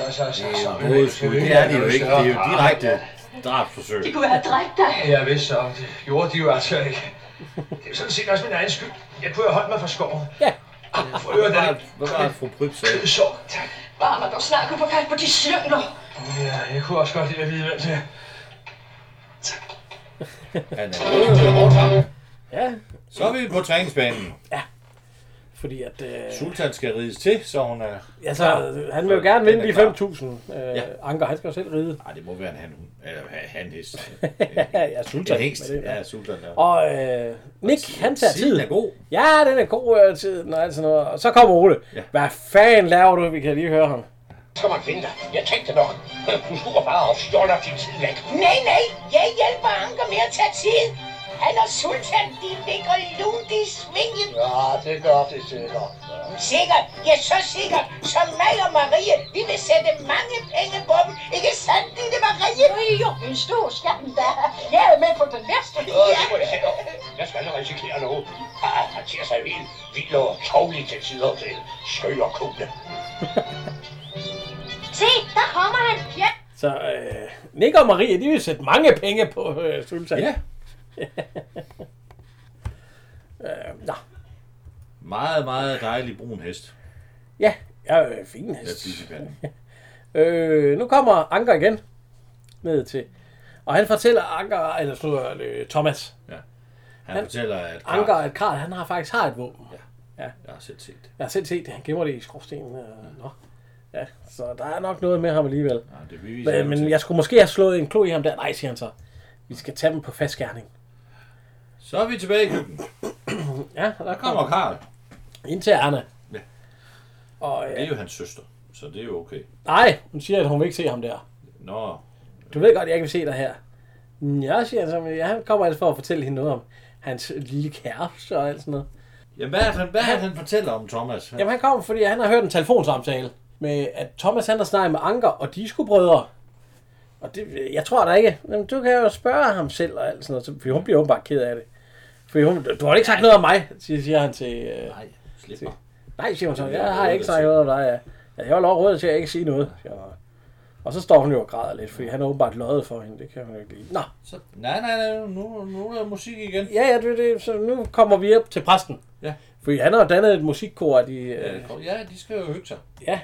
Speaker 2: Hovedskud, det er det jo ikke. Det er jo direkte drabsforsøg.
Speaker 13: De kunne have dræbt dig.
Speaker 10: Jeg vidste så, det gjorde de jo altså ikke. Det er jo sådan set også min egen skyld. Jeg kunne have holdt mig fra skoven.
Speaker 1: Ja.
Speaker 10: For at høre den
Speaker 2: Hvad var det, fru Pryb sagde?
Speaker 10: kødsår.
Speaker 13: Bare man dog snart kunne få fat på de slyngler.
Speaker 10: Ja, jeg kunne også godt lide at vide, hvem det er.
Speaker 2: Han er ude til hårdt ramme.
Speaker 1: Ja.
Speaker 2: Så er vi på træningsbanen.
Speaker 1: Fordi at... Øh,
Speaker 2: Sultan skal rides til, så hun er...
Speaker 1: altså,
Speaker 2: klar.
Speaker 1: han vil jo gerne vinde de
Speaker 2: Den er
Speaker 1: 5.000. Øh,
Speaker 2: Ja.
Speaker 1: Anker, han skal jo selv ride.
Speaker 2: Nej, det må være en han, eller han hest.
Speaker 1: ja, Sultan.
Speaker 2: En hest.
Speaker 1: men det er-
Speaker 2: Ja, Sultan. Ja.
Speaker 1: Og øh, Nick, han tager
Speaker 2: tiden
Speaker 1: tid.
Speaker 2: er god.
Speaker 1: Ja, den er god øh, tiden og alt sådan noget. Og så kommer Ole. Ja. Hvad fanden laver du? Vi kan lige høre ham.
Speaker 5: Skal man finde dig? Jeg tænkte nok.
Speaker 7: øh,
Speaker 5: Du skulle bare og stjåler din tid væk. Nej, nej. Jeg hjælper Anker med at tage tid. Han og Sultan, de ligger lunt i svinget.
Speaker 7: Ja, det gør det sikkert.
Speaker 5: Sikkert. Ja, så sikkert. Som mig og Marie, vi vil sætte mange penge på dem. Ikke sandt, Ditte Marie? Jo, jo, en stor skatten der. Jeg er med på den næste.
Speaker 7: Ja, det må jeg have. Jeg skal aldrig risikere noget. Ah, han ser sig helt vild og tårlig til tider til. Skøg og kugle.
Speaker 8: Se, der kommer han. Ja.
Speaker 1: Så øh, Nick og Marie, de vil sætte mange penge på øh, Sultan. Ja. øh, nå.
Speaker 2: Meget, meget dejlig brun hest.
Speaker 1: Ja, jeg er øh, fin
Speaker 2: Jeg
Speaker 1: hest.
Speaker 2: spiser panden.
Speaker 1: Øh, nu kommer Anker igen ned til. Og han fortæller Anker, eller så øh, Thomas.
Speaker 2: Ja. Han,
Speaker 1: Han-
Speaker 2: han fortæller, at Karl-
Speaker 1: Anker, at Karl, han har faktisk har et våben.
Speaker 2: Jeg har selv set det.
Speaker 1: Jeg har selv set det. Han gemmer det i skorstenen. Øh, nå. Ja, så der er nok noget med ham alligevel.
Speaker 2: Ja, det beviser
Speaker 1: Men, men jeg skulle måske have slået en klo i ham der. Nej, siger han så. Vi skal tage dem på fast gerning.
Speaker 2: Så er vi tilbage i køkkenet.
Speaker 1: Ja, og der
Speaker 2: Kommer Karl.
Speaker 1: Ind til Erna.
Speaker 2: Ja.
Speaker 1: Og, øh,
Speaker 2: Det er jo hans søster, så det er jo okay.
Speaker 1: nej, hun siger, at hun vil ikke se ham der.
Speaker 2: Nå,
Speaker 1: Du ved godt, jeg ikke vil se dig her. Ja, siger han så. Men ja, han kommer altså for at fortælle hende noget om hans lille kæreste og alt sådan noget.
Speaker 2: jamen, hvad er det, han, hvad er det, han fortæller om Thomas?
Speaker 1: Jamen han kom, fordi han har hørt en telefonsamtale med, at Thomas han har snakket med Anker, og de skulle brødre. Og det, jeg tror da ikke. Jamen, du kan jo spørge ham selv og alt sådan noget, så- for hun bliver åbenbart ked af det. For hun, du har ikke sagt noget om mig, siger, siger han til... Øh,
Speaker 2: nej, slip mig.
Speaker 1: Nej, siger hun så.
Speaker 2: Det bliver
Speaker 1: Jeg har
Speaker 2: rådet
Speaker 1: ikke
Speaker 2: til.
Speaker 1: sagt noget om dig. Ja. Jeg har lov rådet til at ikke sige noget. siger hun. Og så står hun jo og græder lidt, fordi han er åbenbart løjet for hende. Det kan hun jo ikke lide. Nå,
Speaker 2: Så, nej, nej, nej, nu, nu er der musik igen.
Speaker 1: ja, ja, det, det, så nu kommer vi op til præsten.
Speaker 2: Ja.
Speaker 1: Fordi han har jo dannet et musikkor, og de... Øh,
Speaker 2: Ja, Ja, de skal jo hygge sig.
Speaker 1: Ja.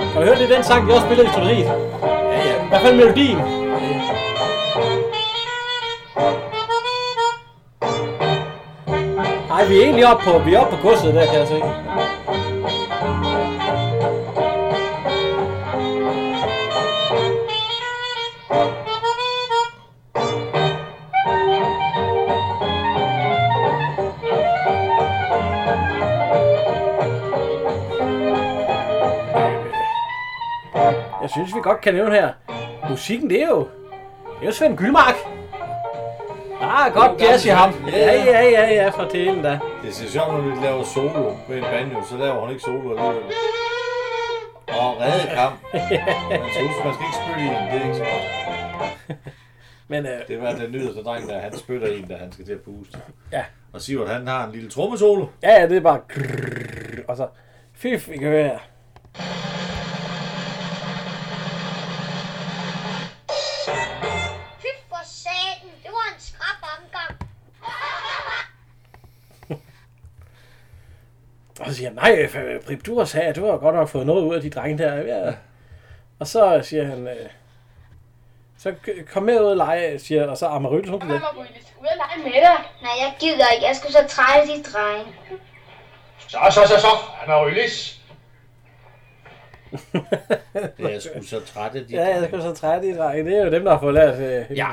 Speaker 1: Kan du høre, det er den sang, jeg også spillede i studiet.
Speaker 2: Ja, ja.
Speaker 1: I hvert fald melodien. Ej, vi er egentlig oppe på, vi er oppe på kurset der, kan jeg se. Jeg synes, vi godt kan nævne her. Musikken, det er jo, det er jo Svend Gyldmark. Der er godt
Speaker 2: Det er jo
Speaker 1: jazz i ham.
Speaker 2: gammel.
Speaker 1: Ja, ja, ja, ja, for delen da.
Speaker 2: Det ser sjovt, når vi laver solo med en banjo, så laver hun ikke solo alligevel. Og redde kamp. Man skal huske, man skal ikke spytte i en, det er ikke så godt.
Speaker 1: Men, øh,
Speaker 2: Det var den nyeste dreng, der han spytter i en, da han skal til at puste.
Speaker 1: Ja.
Speaker 2: Og Sivert, han har en lille trommesolo.
Speaker 1: Ja, ja, det er bare... grrrr, Og så... Fy, vi kan høre her.
Speaker 8: Fy for satan, det var en skrab omgang.
Speaker 1: Og så siger han, nej, øh, Prip, du har sagt, du har godt nok fået noget ud af de drenge der. Ja. Og så siger han, øh, så k- kom med ud og lege, siger, og så Amarylis, hun bliver.
Speaker 8: Ud og lege med dig. Nej, jeg gider ikke. Jeg skulle så trælle de drenge.
Speaker 7: Så, så, så, så. Han er Ryllis.
Speaker 2: Det er sgu så træt af de
Speaker 1: Ja, jeg skal så træt i drenge. Det er jo dem, der har fået lært. Øh, ja.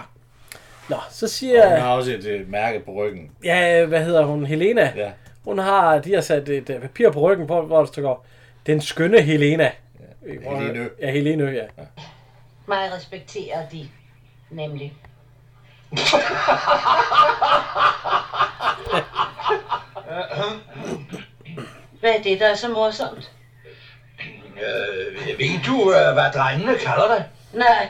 Speaker 1: Nå, så
Speaker 2: Han
Speaker 1: siger,
Speaker 2: har også et øh, mærke på ryggen.
Speaker 1: ja, hvad hedder hun, Helena.
Speaker 2: Ja.
Speaker 1: Hun har, de har sat et øh, papir på ryggen på, hvor der står, den skønne Helena. Ja,
Speaker 2: Helene.
Speaker 1: Ja, Helene, ja. ja.
Speaker 13: Mig respekterer de, nemlig. Hvad er det, der er så morsomt?
Speaker 7: Øh, ved du, øh, hvad drengene kalder dig?
Speaker 13: Nej.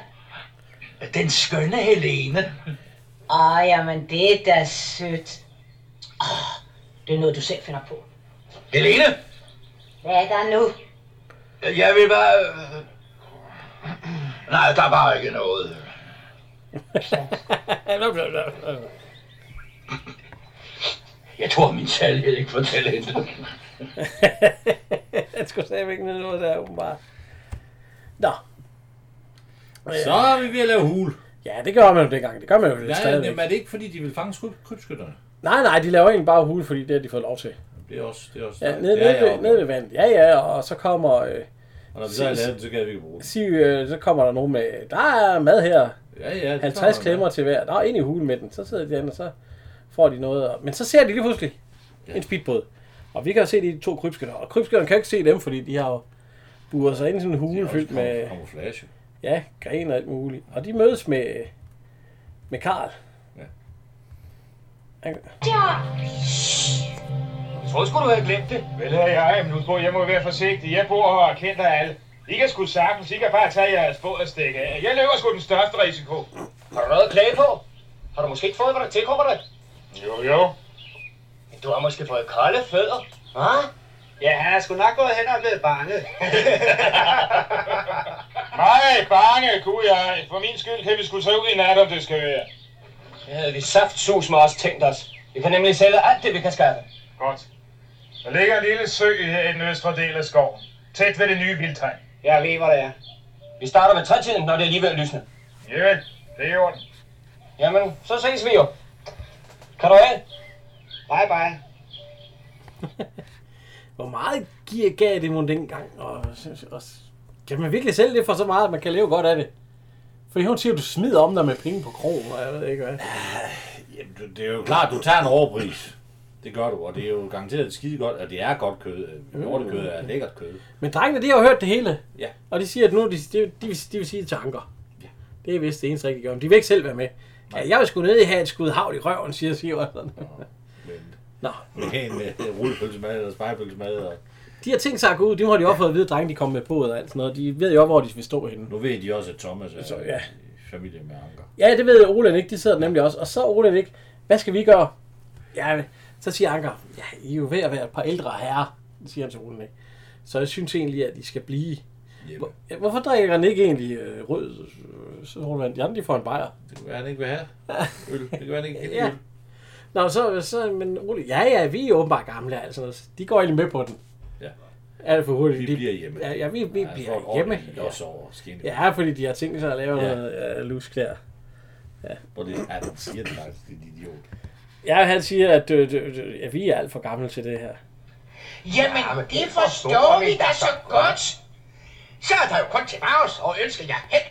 Speaker 7: Den skønne Helene.
Speaker 13: Åh, jamen det er da sødt. Åh, det er noget, du selv finder på.
Speaker 7: Helene,
Speaker 13: Hvad er der nu?
Speaker 7: jeg vil bare... øh, Nej, der var ikke noget.
Speaker 4: Jeg tror, min særlighed ikke fortæller hende.
Speaker 1: Jeg skulle stadigvæk ikke ned noget der, åbenbart. Nå.
Speaker 2: Så er vi ved at lave hul.
Speaker 1: Ja, det gør man jo dengang. Det gør man jo
Speaker 2: Nej,
Speaker 1: stadigvæk.
Speaker 2: jamen, er det ikke fordi, de vil fange skud- krybskytterne?
Speaker 1: Nej, nej, de laver egentlig bare hul, fordi det har de fået lov til.
Speaker 2: Det er også... Det er også
Speaker 1: Ja, nede,
Speaker 2: det er
Speaker 1: nede,
Speaker 2: jeg
Speaker 1: ved,
Speaker 2: oppe.
Speaker 1: nede ved vandet. Ja, ja, og så kommer... Øh,
Speaker 2: Og når vi så har lavet den, så kan vi ikke bruge den.
Speaker 1: sig, øh, så kommer der nogen med, der er mad her.
Speaker 2: Ja, ja, det
Speaker 1: 50
Speaker 2: kommer
Speaker 1: klemmer til hver. Der er ind i hulen med den. Så sidder de derinde, og så får de noget. Og... Men så ser de lige pludselig en speedbåd. Og vi kan jo se de to krybskytter. Og krybskytterne kan ikke se dem, fordi de har jo buret sig ind i sådan en hule fyldt med...
Speaker 2: Camouflage.
Speaker 1: Ja, gren og alt muligt. Og de mødes med... Med Karl.
Speaker 2: Ja.
Speaker 8: Ja.
Speaker 3: Jeg troede sgu, du havde glemt det. Vel er jeg, men nu tror jeg, jeg må være forsigtig. Jeg bor her og kender alle. I kan sgu sagtens, I kan bare tage jeres båd og stikke af. Jeg løber sgu den største risiko.
Speaker 7: Har du noget at klage på? Har du måske ikke fået, hvad der tilkommer dig?
Speaker 3: Jo, jo.
Speaker 7: Men du har måske fået kolde fødder. Hvad? Ja, han er sgu nok gået hen og blevet bange.
Speaker 3: Nej, bange kunne jeg. For min skyld kan vi sgu tage ud i nat, om det skal være.
Speaker 7: Det havde vi saftsus med os tænkt os. Vi kan nemlig sælge alt det, vi kan skaffe.
Speaker 3: Godt. Der ligger en lille sø her i den østre del af skoven. Tæt ved det nye vildtegn.
Speaker 7: Jeg ved, hvor det er. Vi starter med trætiden, når det er lige ved at lysne.
Speaker 3: Jamen, det er i orden.
Speaker 7: Jamen, så ses vi jo. Kan du af? Bye bye.
Speaker 1: Hvor meget giver gav det mon dengang? Og, og, kan man virkelig sælge det for så meget, at man kan leve godt af det? Fordi hun siger, at du smider om dig med penge på krogen, og jeg ved ikke hvad.
Speaker 2: Jamen, du- det er jo klart, du tager en overpris. Det gør du, og det er jo garanteret skide godt, og det er godt kød.
Speaker 1: Mm.
Speaker 2: Øh, Hjortekød er lækkert kød.
Speaker 1: Men drengene, de har jo hørt det hele.
Speaker 2: Ja.
Speaker 1: Og de siger, at nu de, de, de, vil, de vil sige til Anker. Det er vist det eneste rigtige gør. Men de vil ikke selv være med. Ja, jeg vil sgu ned i have et skud havl i røven, siger Sivertsen. Nå.
Speaker 2: Med en øh, rullepølsemad og spejpølsemad. Og...
Speaker 1: De har tænkt sig at gå ud. Det har de også fået at vide, at drengene de kommer med båd og alt sådan noget. De ved jo også, hvor de vil stå henne.
Speaker 2: Nu ved de også, at Thomas er
Speaker 1: Så, ja.
Speaker 2: i familie med Anker.
Speaker 1: Ja, det ved Olen ikke. De sidder nemlig også. Og så Olen ikke. Hvad skal vi gøre? Ja, så siger Anker, ja, I er jo ved at være et par ældre herrer, siger han til Olen ikke. Så jeg synes egentlig, at I skal blive. Hvor, ja, hvorfor drikker han ikke egentlig øh, rød øh, solvand? De andre, de får en bajer.
Speaker 2: Det kan være, han ikke vil have. Øl. Det kan være, han ikke kan lide
Speaker 1: Ja.
Speaker 2: øl.
Speaker 1: Nå, så, så men Ole, ja, ja, vi er åbenbart gamle, altså. noget. De går egentlig med på den.
Speaker 2: Ja.
Speaker 1: Alt for hurtigt.
Speaker 2: Vi bliver hjemme.
Speaker 1: Ja, ja vi, vi
Speaker 2: Han får et
Speaker 1: bliver hjemme.
Speaker 2: ordentligt los over skinnet.
Speaker 1: Ja, fordi de har tænkt sig at lave
Speaker 2: Ja.
Speaker 1: ja. noget øh, lus der. Ja.
Speaker 2: Hvor det er, han siger det faktisk, det er en idiot.
Speaker 1: Ja, han siger, at, øh, øh, øh, at vi er alt for gamle til det her.
Speaker 5: Jamen,
Speaker 1: Ja, men
Speaker 5: det
Speaker 1: det
Speaker 5: forstår
Speaker 1: forstår
Speaker 5: vi
Speaker 1: vi
Speaker 5: da
Speaker 1: da
Speaker 5: så godt. Så er der jo kun til Maus og ønsker jer held.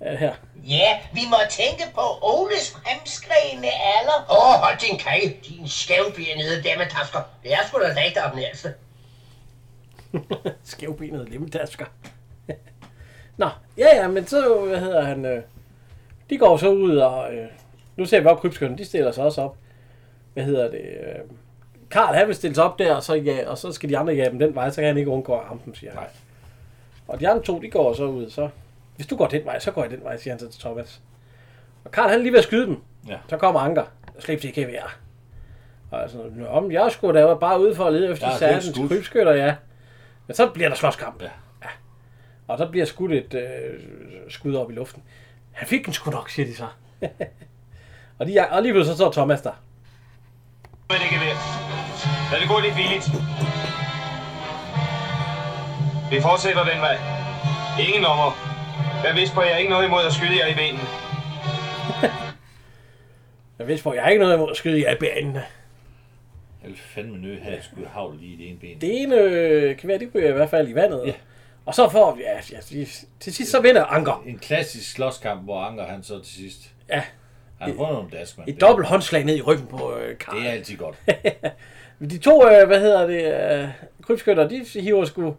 Speaker 1: Ja, her.
Speaker 5: Ja, vi må tænke på Oles fremskredende alder. Åh, oh, hold din kage, din skævbenede dammetasker. Det er sgu da rigtig om den ældste.
Speaker 1: Skævbenet lemmedasker. Nå, ja, ja, men så, hvad hedder han, øh, de går så ud, og øh, nu ser vi op krybskytten, de stiller sig også op. Hvad hedder det? Øh, Karl, han vil stille sig op der, og så, ja, og så skal de andre jage dem den vej, så kan han ikke undgå at ramme dem, siger han. Nej. Og de andre to, de går så ud, så hvis du går den vej, så går jeg den vej, siger han så til Thomas. Og Karl, han er lige ved at skyde dem.
Speaker 2: Ja.
Speaker 1: Så kommer Anker. Slip til KVR. Og jeg er sådan, Nå, men jeg skulle da bare ude for at lede efter
Speaker 2: Der er blevet
Speaker 1: særligt
Speaker 2: skudt.
Speaker 1: krybskytter, ja. Men så bliver der slåskamp. Ja. ja. Og så bliver skudt et øh, skud op i luften. Han fik den sgu nok, siger de så. og, de, er- og lige pludselig så står Thomas der.
Speaker 3: Men det kan være. Lad det gå lidt billigt. Vi fortsætter den vej. Ingen nummer. Jeg vidste på, at jeg ikke noget imod at skyde jer i benene.
Speaker 1: Jeg vidste, hvor jeg har ikke noget imod at skyde jer i banen.
Speaker 2: Jeg vil fandme nø have et skud havl lige i det ene ben.
Speaker 1: Det ene øh, kan være, de ryger i hvert fald i vandet. Ja. Og så får vi, ja, ja, de- til sidst så vinder Anker.
Speaker 2: En klassisk slåskamp, hvor Anker han så til sidst.
Speaker 1: Ja.
Speaker 2: Han har fået nogle dask, mand.
Speaker 1: Et dobbelt håndslag ned i ryggen på øh, Karl.
Speaker 2: Det er altid godt.
Speaker 1: De to, øh, hvad hedder det, øh, krybskytter, de hiver sgu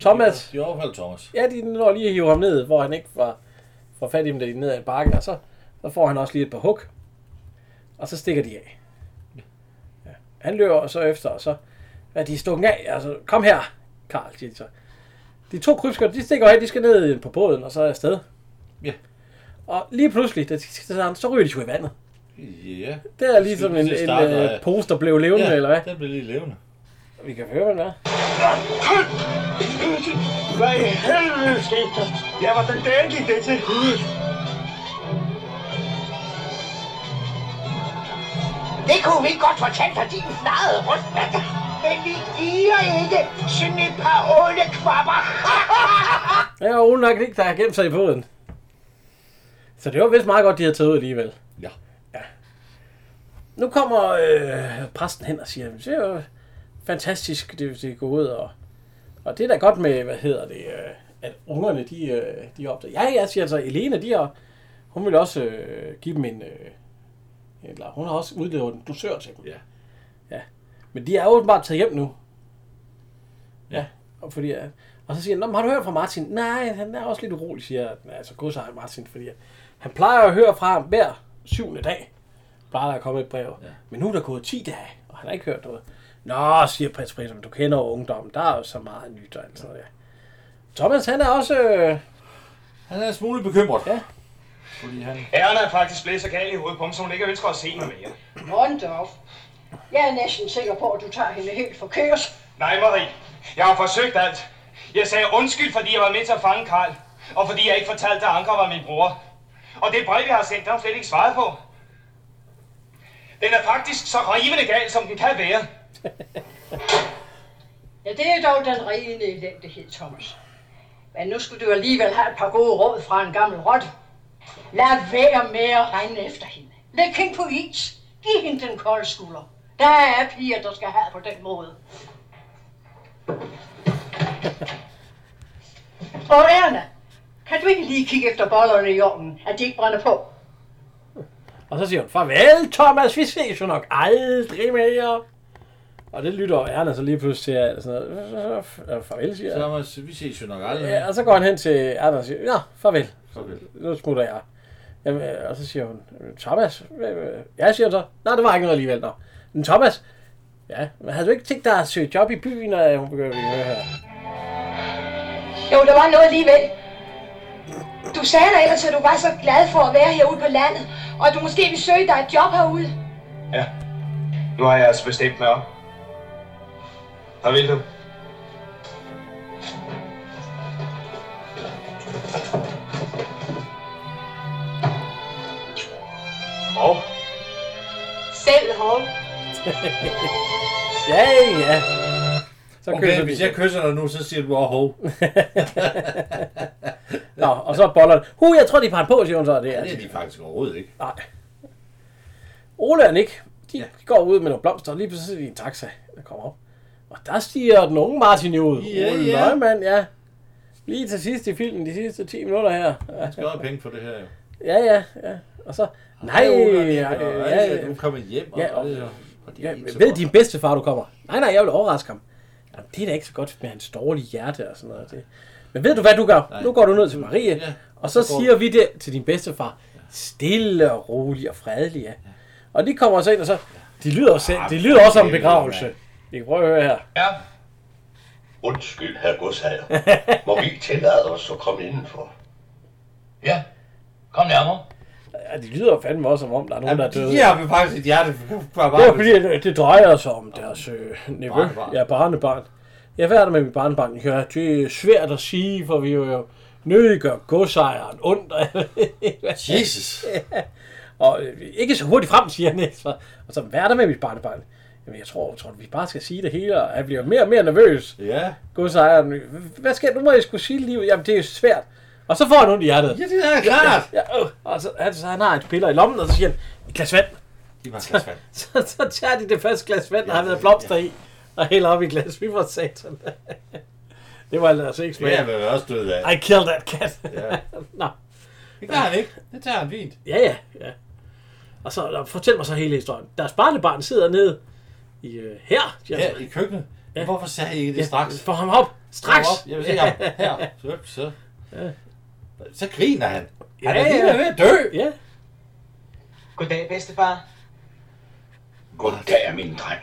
Speaker 1: Thomas.
Speaker 2: I hvert fald Thomas.
Speaker 1: Ja, de når lige at hive ham ned, hvor han ikke var, var fat i dem, da de ned ad bakken. Og så, så får han også lige et par hug. Og så stikker de af. Ja. Han løber så efter, og så er de stukket af. Altså, kom her, Karl, siger de så. De to krybskytter, de stikker af, de skal ned på båden, og så er afsted.
Speaker 2: Ja.
Speaker 1: Og lige pludselig, da de skal til stranden, så ryger de sgu i vandet.
Speaker 2: Ja.
Speaker 1: Det er ligesom en, en, en øh, pose, der blev levende,
Speaker 2: ja,
Speaker 1: eller hvad?
Speaker 2: den blev lige levende.
Speaker 1: Vi kan høre, hvad det er.
Speaker 9: Hvad i helvede skete der? Ja, hvordan den gik det til?
Speaker 5: Det kunne vi godt fortælle dig, din flade rundbatter. Men vi giver ikke sådan et par åle kvapper.
Speaker 1: Ja, og Ole nok ikke, der har gemt sig i båden. Så det var vist meget godt, de havde taget ud alligevel.
Speaker 2: Ja.
Speaker 1: ja. Nu kommer øh, præsten hen og siger, det er jo fantastisk, det, det går ud. Og, og det er da godt med, hvad hedder det, øh, at ungerne, de, øh, de opdager. Ja, ja, siger altså, Elena, de har, hun vil også øh, give dem en, øh, eller hun har også udlevet en dusør til dem.
Speaker 2: Ja.
Speaker 1: ja. Men de er åbenbart taget hjem nu.
Speaker 2: Ja.
Speaker 1: Og, fordi, øh, og så siger han, "Nå, men har du hørt fra Martin? Nej, han er også lidt urolig, siger jeg. Altså, god sejr Martin, fordi øh, han plejer at høre fra ham hver syvende dag. Plejer der at komme et brev. Ja. Men nu er der gået 10 dage, og han har ikke hørt noget. Nå, siger prins Prins, men du kender jo ungdommen. Der er jo så meget nyt og alt sådan noget. Ja. Thomas, han er også... Øh...
Speaker 2: Han er en smule bekymret.
Speaker 1: Ja.
Speaker 2: Fordi han...
Speaker 4: Æren er faktisk blevet så gal i hovedet på ham, så hun ikke ønsker at se mig mere.
Speaker 12: Mondorf. Jeg er næsten sikker på, at du tager hende helt forkert.
Speaker 4: Nej, Marie. Jeg har forsøgt alt. Jeg sagde undskyld, fordi jeg var med til at fange Karl. Og fordi jeg ikke fortalte, at Anker var min bror. Og det brev, jeg har sendt, der har hun slet ikke svaret på. Den er faktisk så rivende gal, som den kan være.
Speaker 12: Ja, det er dog den rene elendighed, Thomas. Men nu skulle du alligevel have et par gode råd fra en gammel rot. Lad være med at regne efter hende. Læg hende på is. Giv hende den kolde skulder. Der er piger, der skal have på den måde. Og Erna, kan du ikke lige kigge efter bollerne i ovnen, at de ikke brænder på?
Speaker 1: Og så siger hun, farvel Thomas, vi ses jo nok aldrig mere. Og det lytter Erna så lige pludselig til, eller sådan noget. "Øh, øh, Farvel, siger jeg.
Speaker 2: Thomas, vi ses jo nok aldrig.
Speaker 1: Ja, og så går han hen til Erna og siger, ja, farvel.
Speaker 2: Farvel.
Speaker 1: Nu smutter jeg. Jamen, øh, og så siger hun, Thomas, jeg siger hun så, nej, det var ikke noget alligevel, nå. Men Thomas, ja, men havde du ikke tænkt dig at søge job i byen, og hun begynder at høre her?
Speaker 14: Jo, der var noget alligevel. Du sagde da ellers, at du var så glad for at være herude på landet, og at du måske ville søge dig et job herude.
Speaker 15: Nu har jeg altså bestemt mig om. Hvad vil du?
Speaker 4: Og?
Speaker 14: Selv hov.
Speaker 1: ja, ja. Så
Speaker 2: okay,
Speaker 1: kysser vi.
Speaker 2: hvis jeg kysser dig nu, så siger du, åh, hov.
Speaker 1: Nå, og så boller Hu, jeg tror, de brændte på, siger hun så. Det er, altså
Speaker 2: det er de faktisk overhovedet ikke.
Speaker 1: Nej. Ole og Nick, de ja. går ud med nogle blomster, og lige pludselig er de i en taxa, der kommer op. Og der stiger den unge Martin jo ud.
Speaker 2: Ja,
Speaker 1: Ole
Speaker 2: ja.
Speaker 1: Nøgman, ja. Lige til sidst i filmen, de sidste 10 minutter her.
Speaker 2: Han skal også have penge for det her, jo.
Speaker 1: Ja, ja, ja. Og så, nej,
Speaker 2: Ole og
Speaker 1: øh,
Speaker 2: Nick,
Speaker 1: ja,
Speaker 2: og
Speaker 1: ja,
Speaker 2: alle,
Speaker 1: ja,
Speaker 2: altså, du kommer hjem, og,
Speaker 1: Ja, og-
Speaker 2: alle, og, og det er
Speaker 1: ja,
Speaker 2: ikke så
Speaker 1: ved
Speaker 2: godt.
Speaker 1: din bedstefar, du kommer? Nej, nej, jeg vil overraske ham. Jamen, det er da ikke så godt med hans dårlige hjerte og sådan noget. Det. Men ved du, hvad du gør?
Speaker 2: Nej.
Speaker 1: Nu går du ned til Marie,
Speaker 2: Ja,
Speaker 1: og så
Speaker 2: så går
Speaker 1: siger vi det til din bedstefar. Stille og rolig og fredelig, ja. Og de kommer så ind, og så... De lyder, også,
Speaker 2: Ah,
Speaker 1: de lyder også som en begravelse. Vi kan prøve at høre her.
Speaker 7: Ja. Undskyld, herr godsejer. Må vi tillade os at komme indenfor? Ja, kom nærmere.
Speaker 1: Ja, de lyder fandme også, som om der er nogen, der er døde.
Speaker 7: de har vel faktisk et
Speaker 2: hjerte
Speaker 1: Det er fordi, at det drejer sig om deres øh, niveau.
Speaker 2: Barnebarn.
Speaker 1: Ja, barnebarn. Jeg hvad er der med mit barnebarn? Ja, det er svært at sige, for vi er jo nødiger godsejeren ondt.
Speaker 2: Jesus.
Speaker 1: Ja. Og øh, ikke så hurtigt frem, siger han. Så, og så, hvad er der med mit barnebarn? Jamen, jeg tror, tror du, vi bare skal sige det hele, og han bliver mere og mere nervøs.
Speaker 2: Ja.
Speaker 1: Godsejeren, hvad skal nu må jeg skulle sige livet? Jamen, det er jo svært. Og så får han ondt i hjertet.
Speaker 2: Ja, det er klart.
Speaker 1: Ja, ja, øh, og så, altså, han har et piller i lommen, og så siger han, et glas vand.
Speaker 2: Giv mig et glas vand.
Speaker 1: Så, så, så tager de det første glas vand, der har været blomster i, og hælder op i glas. Vi var satan. det var altså ikke
Speaker 2: Det er
Speaker 1: smag.
Speaker 2: vel også død af.
Speaker 1: I killed that cat.
Speaker 2: Ja.
Speaker 1: Nå.
Speaker 2: Det gør han ikke. Det tager han fint.
Speaker 1: Ja, ja, ja. Og så og fortæl mig så hele historien. Deres barnebarn sidder nede i, øh, her.
Speaker 2: Ja, i køkkenet.
Speaker 1: Ja.
Speaker 2: Hvorfor sagde I ikke det straks?
Speaker 1: Få ham op. Straks.
Speaker 2: Kom op, Jeg vil se ham her. Så, så.
Speaker 1: Ja.
Speaker 2: så griner han. Han
Speaker 1: Ja,
Speaker 2: er lige
Speaker 1: ja.
Speaker 2: ved at dø.
Speaker 1: Ja.
Speaker 5: Goddag, bedstefar.
Speaker 7: Goddag, min dreng.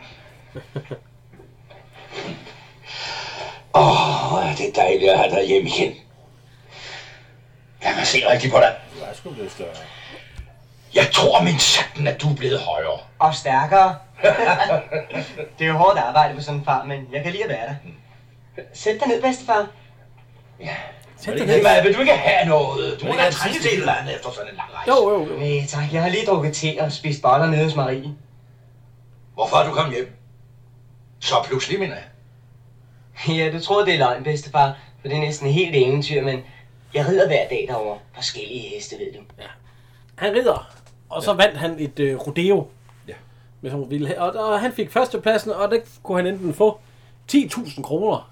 Speaker 7: Åh, oh, det er dejligt at have dig hjem igen. Lad mig se rigtig på dig.
Speaker 2: Du er sgu blevet større.
Speaker 7: Jeg tror min satan, at du er blevet højere.
Speaker 5: Og stærkere. det er jo hårdt arbejde på sådan en farm, men jeg kan lide at være der. Sæt dig ned, bedstefar.
Speaker 7: Sæt dig ned. Hvad, vil du ikke have noget? Du må da trænge til et eller andet efter sådan en lang rejse.
Speaker 1: Jo, jo,
Speaker 5: jo. Nej, tak. Jeg har lige drukket te og spist boller nede hos Marie.
Speaker 7: Hvorfor er du kommet hjem? Så pludselig, min
Speaker 5: Ja, du troede, det er løgn, bedstefar. For det er næsten helt eventyr, men jeg rider hver dag derover Forskellige heste, ved du.
Speaker 1: Ja. han rider, og så ja. vandt han et øh, rodeo.
Speaker 2: Ja.
Speaker 1: Hvis han ville. Og, og han fik førstepladsen, og det kunne han enten få 10.000 kroner,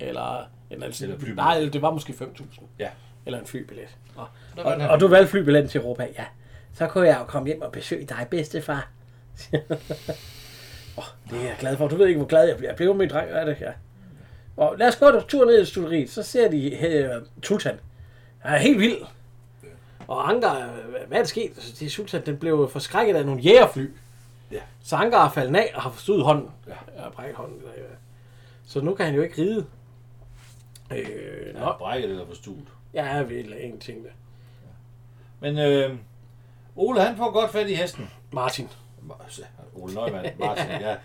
Speaker 1: eller, eller, sådan,
Speaker 2: Eller flybillet.
Speaker 1: nej, det var måske 5.000.
Speaker 2: Ja.
Speaker 1: Eller en flybillet. Og,
Speaker 2: Der
Speaker 1: og,
Speaker 2: vandt han
Speaker 1: og du valgte flybilletten til Europa, ja. Så kunne jeg jo komme hjem og besøge dig, bedstefar. oh, det er jeg glad for. Du ved ikke, hvor glad jeg bliver. Jeg blev med dreng, er det ja. Og lad os gå en tur ned i studeriet. Så ser de her Sultan. Han er helt vild. Og Anker, øh, hvad er der sket? Så det er Sultan, den blev forskrækket af nogle jægerfly.
Speaker 2: Ja.
Speaker 1: Så Anker er faldet af og har forstået hånden. Ja. Har brækket hånden. eller, øh. Så nu kan han jo ikke ride. Øh,
Speaker 2: Ja, brækket eller forstuet.
Speaker 1: Ja, jeg vil ingenting der.
Speaker 2: Men øh, Ole, han får godt fat i hesten.
Speaker 1: Martin.
Speaker 2: Ole Nøgman, Martin, ja.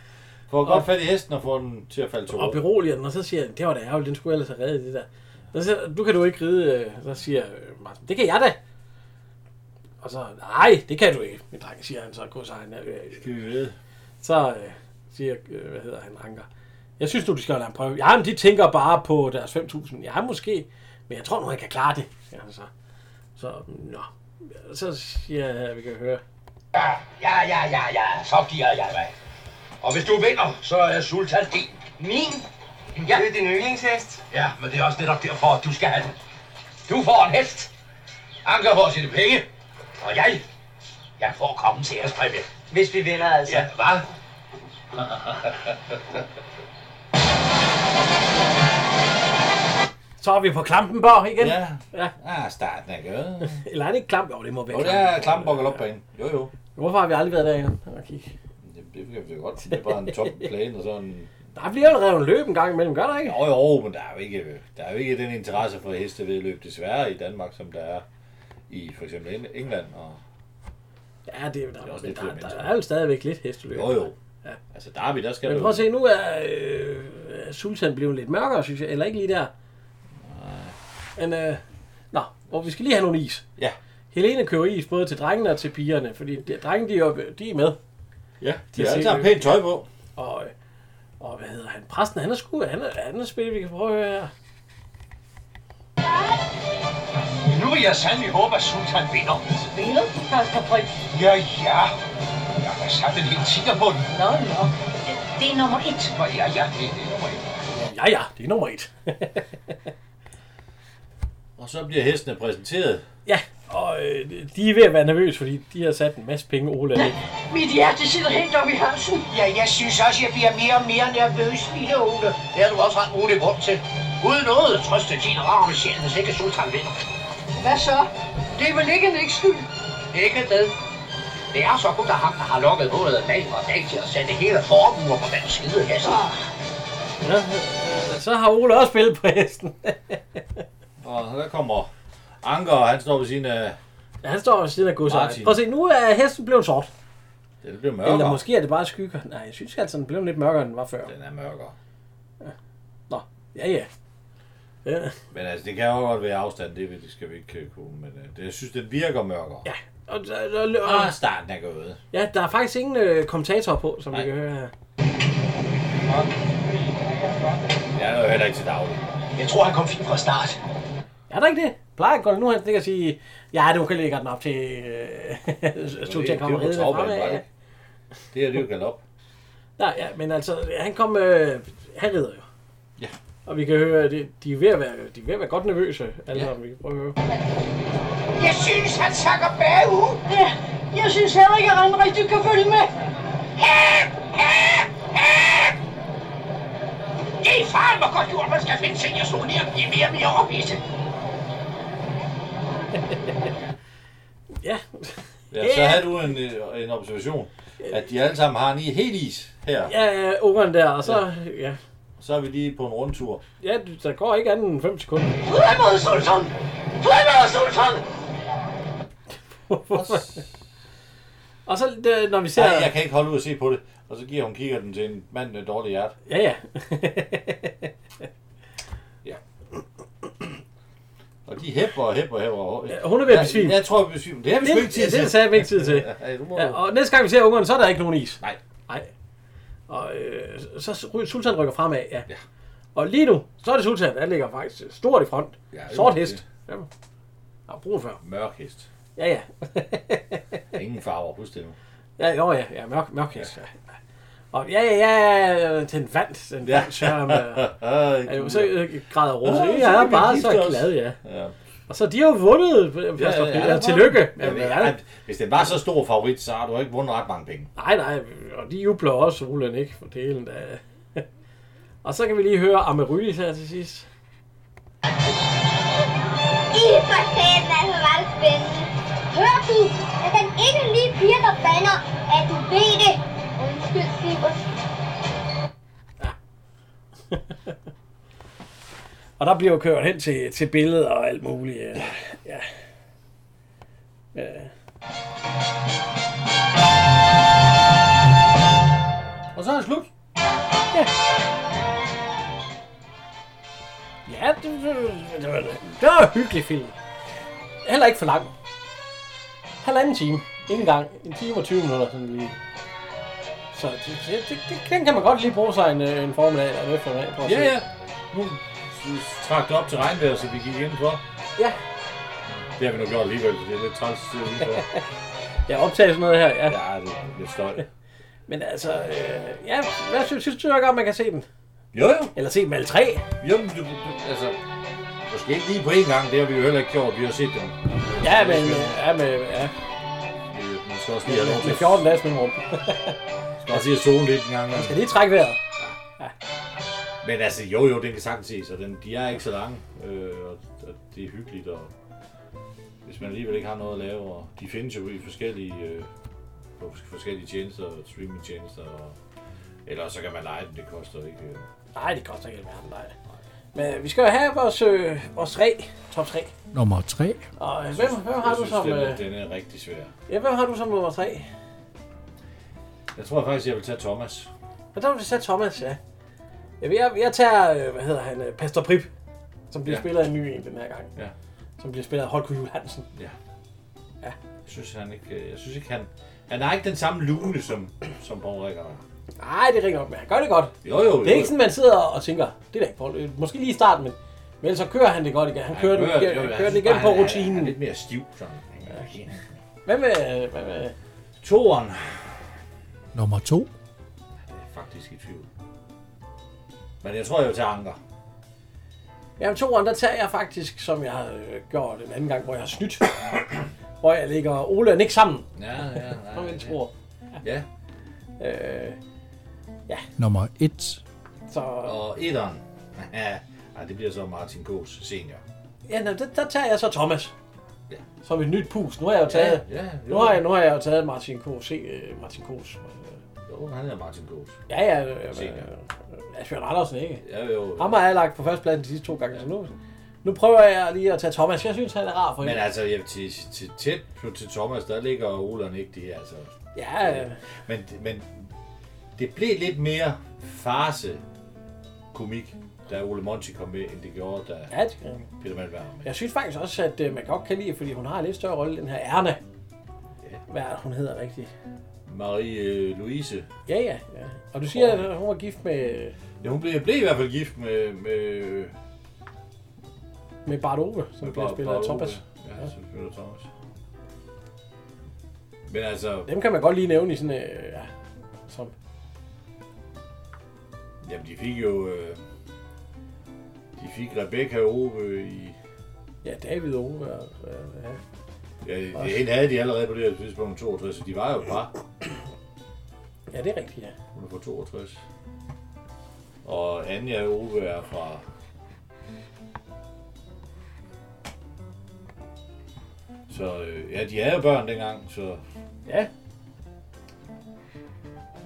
Speaker 2: Får godt fat i hesten og får den til at falde til
Speaker 1: Og
Speaker 2: ro.
Speaker 1: beroliger den, og så siger han, det var da ærgerligt, den skulle ellers have reddet det der. Så siger, han, du kan du ikke ride, øh." så siger øh, Martin, det kan jeg da. Og så, nej, det kan du ikke, min dreng, siger han så, gå så han. Skal
Speaker 2: vi ved.
Speaker 1: Så øh, siger, øh, hvad hedder han, Anker. Jeg synes nu, de skal lade ham prøve. Ja, men de tænker bare på deres 5.000. Ja, måske, men jeg tror nu, han kan klare det, siger han så. Så, nå. Så siger jeg, at vi kan høre.
Speaker 7: Ja, ja, ja, ja, ja, så giver jeg mig. Og hvis du vinder, så er Sultan din. Min? Ja. Det er din yndlingshest. Ja, men det er også netop derfor, at du skal have den. Du får en hest. Anker får sine penge. Og jeg, jeg får kongen til at skrive. Hvis vi vinder, altså. Ja, hvad?
Speaker 1: Så er vi på Klampenborg igen.
Speaker 2: Ja.
Speaker 1: ja.
Speaker 2: Ah, starten er gået.
Speaker 1: Eller er det ikke Klamp? Jo, det må være
Speaker 2: Jo, det er Klampenborg op på hende. Jo, jo.
Speaker 1: Hvorfor har vi aldrig været derinde? og kigge?
Speaker 2: Jamen, Det kan vi jo godt. Det er bare en tom plan og sådan.
Speaker 1: Der bliver jo revet en løb en gang imellem, gør der ikke?
Speaker 2: Jo, jo, men der er jo ikke, der er jo ikke den interesse for hestevedløb desværre i Danmark, som der er i for eksempel Eng- England. Og
Speaker 1: Ja, det er, der,
Speaker 2: Det er
Speaker 1: der,
Speaker 2: også
Speaker 1: der,
Speaker 2: lidt flere
Speaker 1: der, der,
Speaker 2: mennesker.
Speaker 1: er jo stadigvæk lidt hesteløb.
Speaker 2: jo, jo.
Speaker 1: Ja.
Speaker 2: Altså Derby, der skal
Speaker 1: Men
Speaker 2: du...
Speaker 1: prøv at se, nu er øh, Sultan blevet lidt mørkere, synes jeg. Eller ikke lige der. Men, øh, nå, og vi skal lige have nogle is.
Speaker 2: Ja.
Speaker 1: Helene køber is både til drengene og til pigerne, fordi de, drengene, de er, jo- de er med.
Speaker 2: Ja,
Speaker 1: Til
Speaker 2: de har
Speaker 1: at
Speaker 2: alle
Speaker 1: se
Speaker 2: sammen
Speaker 1: løb.
Speaker 2: pænt tøj på.
Speaker 1: Og, øh, og hvad hedder han? Præsten, han er sgu, han er, han er spil, vi kan prøve at høre her.
Speaker 7: Nu vil jeg sandelig håbe, at Sultan vinder.
Speaker 16: Spiller du, Pastor Brix?
Speaker 7: Ja, ja. Jeg har sat en hel tiger på den.
Speaker 16: Nå, nå. Det er nummer et.
Speaker 7: Nå, ja, ja, det er det nummer et.
Speaker 1: Ja, ja, det er nummer et.
Speaker 2: Og så bliver hestene præsenteret.
Speaker 1: Ja, og øh, de er ved at være nervøse, fordi de har sat en masse penge, Ole er ikke.
Speaker 16: Mit hjerte sidder helt oppe i halsen.
Speaker 5: Ja, jeg synes også, jeg bliver mere og mere nervøs, lille Ole. Det har du også ret mulig grund til. Uden noget trøste din rarme sjæl, hvis ikke Sultan vinder.
Speaker 16: Hvad så? Det er vel ikke en ikke skyld?
Speaker 5: Ikke det. Det er så godt, at ham, der har lukket hullet med og dag til at sætte hele formuer på den skide hest.
Speaker 16: Ah.
Speaker 1: Ja, øh, så har Ole også spillet på hesten.
Speaker 2: Og der kommer Anker, og han står ved siden af...
Speaker 1: Ja, han står ved siden af Godsejer.
Speaker 2: Martin.
Speaker 1: Prøv at se, nu er hesten blevet sort.
Speaker 2: Ja, det bliver
Speaker 1: Mørkere.
Speaker 2: mørkere.
Speaker 1: Eller måske er det bare skygger. Nej, jeg synes altså, den blev lidt mørkere, end den var før.
Speaker 2: Den er mørkere.
Speaker 1: Nå, ja ja. ja.
Speaker 2: Men altså, det kan jo godt være afstand, det, ved- det skal vi ikke øh, kunne. Men øh, det, jeg synes, den virker mørkere.
Speaker 1: Ja. Og, og, og,
Speaker 2: Og starten er gået.
Speaker 1: ja, der er faktisk ingen øh, kommentator på, som vi kan høre her.
Speaker 2: Det er der jo heller ikke til daglig.
Speaker 10: Jeg tror, han kom fint fra start.
Speaker 1: Er der ikke det? Plejer ikke godt nu, han kan sige, ja, du kan lægge den op til øh,
Speaker 2: det er jo på
Speaker 1: Sultankammeriet.
Speaker 2: travbanen, var det
Speaker 1: Ja.
Speaker 2: ikke? Det er det jo galop.
Speaker 1: Nej, ja, men altså, han kom, øh, han rider jo.
Speaker 2: Ja.
Speaker 1: Og vi kan høre, at det- de er ved at være, de er ved at være godt nervøse, alle ja. sammen. Vi kan prøve at høre.
Speaker 5: Jeg synes, han sakker bagud.
Speaker 16: Ja, jeg synes heller ikke, at han rigtig kan følge med.
Speaker 5: Det er fandme godt gjort, man skal finde ting, jeg slog ned og blive mere og mere opvise.
Speaker 1: Ja.
Speaker 2: Ja, så havde du en, øh, en observation, at de alle sammen har en i helt is her.
Speaker 1: Ja, øh, ungeren der, og så, ja. ja.
Speaker 2: Så er vi lige på en rundtur.
Speaker 1: Ja, der går ikke andet end 5 sekunder.
Speaker 5: Fremad, Sultan! Fremad, Sultan!
Speaker 1: og så, det, når vi ser...
Speaker 2: Nej, jeg kan ikke holde ud og se på det. Og så giver hun kigger den til en mand med dårlig hjerte.
Speaker 1: Ja, ja.
Speaker 2: ja. Og de hæpper og hæpper og hæpper. og-
Speaker 1: Ja, hun er ved at
Speaker 2: Jeg-
Speaker 1: besvime.
Speaker 2: Jeg tror, vi besvime. Det har vi sgu ikke tid
Speaker 1: ja,
Speaker 2: til.
Speaker 1: det er sagde vi ikke tid til.
Speaker 2: Ja, du må-
Speaker 1: ja, og næste gang vi ser ungeren, så er der ikke nogen is.
Speaker 2: Nej.
Speaker 1: Nej. Og øh, så ry- Sultan rykker fremad, ja. ja. Og lige nu, så er det Sultan, der ligger faktisk stort i front.
Speaker 2: Ja,
Speaker 1: Ja,
Speaker 2: det
Speaker 1: Sort
Speaker 2: må
Speaker 1: hest. Ja. Og brun før.
Speaker 2: Mørk hest.
Speaker 1: Ja, ja.
Speaker 2: Ingen farver, husk det nu.
Speaker 1: Ja, jo, ja, ja mørk, mørk ja. ja. Og ja, ja, ja, den vandt, den
Speaker 2: Ja.
Speaker 1: vandt, så, med,
Speaker 2: Gud,
Speaker 1: øh, så
Speaker 2: ja.
Speaker 1: øh, græder Rose.
Speaker 2: Ja,
Speaker 1: Ja,
Speaker 2: så
Speaker 1: jeg
Speaker 2: kan
Speaker 1: er
Speaker 2: vi
Speaker 1: bare
Speaker 2: gifte
Speaker 1: så
Speaker 2: os.
Speaker 1: glad, ja.
Speaker 2: Ja.
Speaker 1: Og så de har jo vundet, øh, Plaster ja, ja, ja, tillykke.
Speaker 2: Ja,
Speaker 1: Jamen,
Speaker 2: ja,
Speaker 1: ja.
Speaker 2: ja. Hvis det var så stor favorit, så har du ikke vundet ret mange penge.
Speaker 1: Nej, nej, og de jubler også, Roland, ikke? For delen af... og så kan vi lige høre Amaryllis her til sidst.
Speaker 8: I for fanden, altså var det spændende. Hør du, at den ikke lige piger, der bander, at du ved det. Undskyld, Sivert.
Speaker 1: Og der bliver jo kørt hen til, til billeder og alt muligt. Ja. ja. ja. Og så er det slut. Ja. Ja, det, det, det, det, var, det var en hyggelig film. Heller ikke for lang. Halvanden time. Ikke engang. En time og 20 minutter sådan lige. Så det, det, det, det, den kan man godt lige bruge sig en, øh, en formiddag eller en eftermiddag på at
Speaker 2: Ja,
Speaker 1: se.
Speaker 2: ja. Nu trak det op til regnvejr, så vi gik indenfor.
Speaker 1: Ja.
Speaker 2: Det har vi nu gjort alligevel, for det er lidt træls at sidde udenfor.
Speaker 1: Jeg optager sådan noget her, ja.
Speaker 2: Ja, det er lidt støj.
Speaker 1: Men altså, øh, ja, hvad synes, synes du, at man kan se den?
Speaker 2: Jo, jo.
Speaker 1: Eller se dem alle tre.
Speaker 2: Jo, men du, du, altså, måske ikke lige på én gang, det har vi jo heller ikke gjort, vi har set dem.
Speaker 1: Ja, men, øh, ja, med, ja.
Speaker 2: Øh, Man skal også lige have lov
Speaker 1: Med,
Speaker 2: til
Speaker 1: med 14 dages mellemrum.
Speaker 2: Man skal også lige have solen lidt en gang.
Speaker 1: Man skal lige trække vejret.
Speaker 2: Men altså, jo jo, den kan sagtens ses, og den, de er ikke så lange, øh, og, og det er hyggeligt, og hvis man alligevel ikke har noget at lave, og de findes jo i forskellige, øh, på fors- forskellige tjenester, streamingtjenester, og, eller så kan man lege den, det koster ikke. Øh.
Speaker 1: Nej, det koster ikke alverden, nej. Men øh, vi skal jo have vores, øh, vores tre, top 3.
Speaker 17: Nummer 3.
Speaker 1: Og øh, hvem,
Speaker 2: Jeg synes-
Speaker 1: hvem
Speaker 2: jeg
Speaker 1: har du
Speaker 2: synes,
Speaker 1: som,
Speaker 2: Den,
Speaker 1: øh,
Speaker 2: er- den er rigtig svær.
Speaker 1: ja, hvem har du som nummer 3?
Speaker 2: Jeg tror faktisk, jeg vil tage Thomas.
Speaker 1: Og der vil vi sætte Thomas, ja. Jeg, jeg, jeg tager, øh, hvad hedder han, øh, Pastor Prip, som bliver
Speaker 2: Ja.
Speaker 1: ja. spillet af en ny en den her gang.
Speaker 2: Ja.
Speaker 1: Som bliver spillet af Holger Juhl Hansen.
Speaker 2: Ja. Jeg synes, han ikke, øh, jeg synes ikke, han, han har ikke den samme lune, som, som Paul Rikker har.
Speaker 1: Nej, det ringer op, men han gør det godt.
Speaker 2: Jo, jo,
Speaker 1: Det er
Speaker 2: jo.
Speaker 1: ikke sådan, man sidder og tænker, det er da ikke Paul. Øh, Måske lige i starten, men, men ellers så kører han det godt igen. Han kører, den,
Speaker 2: jo,
Speaker 1: kører,
Speaker 2: jeg
Speaker 1: kører den
Speaker 2: synes
Speaker 1: igen
Speaker 2: bare,
Speaker 1: på
Speaker 2: han er-
Speaker 1: rutinen.
Speaker 2: Han er lidt mere stiv, sådan. Ja.
Speaker 1: Hvad med, hvad med
Speaker 2: Toren?
Speaker 17: Nummer 2.
Speaker 2: faktisk i tvivl. Men jeg tror, jeg vil tage Anker.
Speaker 1: Jamen toeren, der tager jeg faktisk, som jeg har øh, gjort en anden gang, hvor jeg har snydt. hvor jeg lægger Ole og Nick sammen.
Speaker 2: Ja, ja, nej,
Speaker 1: Som en tror.
Speaker 2: Ja.
Speaker 1: Øh,
Speaker 17: Nummer 1.
Speaker 1: så,
Speaker 2: Og etteren. Ja, Ej, det bliver så Martin Gås senior.
Speaker 1: ja, nå, der, der, tager jeg så Thomas. Som et nyt pus. Nu har jeg jo
Speaker 2: Ja,
Speaker 1: taget,
Speaker 2: ja, jo.
Speaker 1: nu har jeg, nu har jeg jo taget Martin Kås. Øh, Martin Kås.
Speaker 2: Jo, han hedder Martin Gås.
Speaker 1: Ja, ja. Øh, øh,
Speaker 2: Senior.
Speaker 1: ja, Bjørn Andersen, ikke?
Speaker 2: Ja, jo.
Speaker 1: Ham har jeg lagt på førstepladsen de sidste to gange, så nu, nu prøver jeg lige at tage Thomas. Jeg synes, han er rar for
Speaker 2: Men
Speaker 1: hende.
Speaker 2: altså, jeg, til, til, tæt på til Thomas, der ligger Ole og Nick, de er altså...
Speaker 1: Ja, øh, ja.
Speaker 2: Men, men det blev lidt mere farse komik, da Ole Monti kom med, end det gjorde, da
Speaker 1: Ja, det gør det.
Speaker 2: Peter Malberg var med.
Speaker 1: Jeg synes faktisk også, at øh, man godt kan lide, fordi hun har en lidt større rolle, den her Erna. Hvad er det, hun hedder rigtigt?
Speaker 2: Marie øh, Louise.
Speaker 1: Ja, ja, ja. Og du siger, at hun var gift med,
Speaker 2: Ja, hun blev, blev i hvert fald gift med, med
Speaker 1: med Bart Ove, som
Speaker 2: Med
Speaker 1: bliver
Speaker 2: Bar-
Speaker 1: spillet af
Speaker 2: Bar-
Speaker 1: Thomas.
Speaker 2: Ove. Ja, som spiller Thomas. Men altså,
Speaker 1: Dem kan man godt lige nævne i sådan, øh, ja, som...
Speaker 2: jamen, de fik jo... Øh, de fik Rebecca Ove i...
Speaker 1: Ja, David Ove og... Øh, ja.
Speaker 2: Ja, det hende havde de allerede på det her tidspunkt 62, så de var jo et par.
Speaker 1: ja, det er rigtigt, ja.
Speaker 2: Hun er fra 62. Og Anja Ove er fra... Så øh, ja, de havde jo børn dengang, så...
Speaker 1: Ja.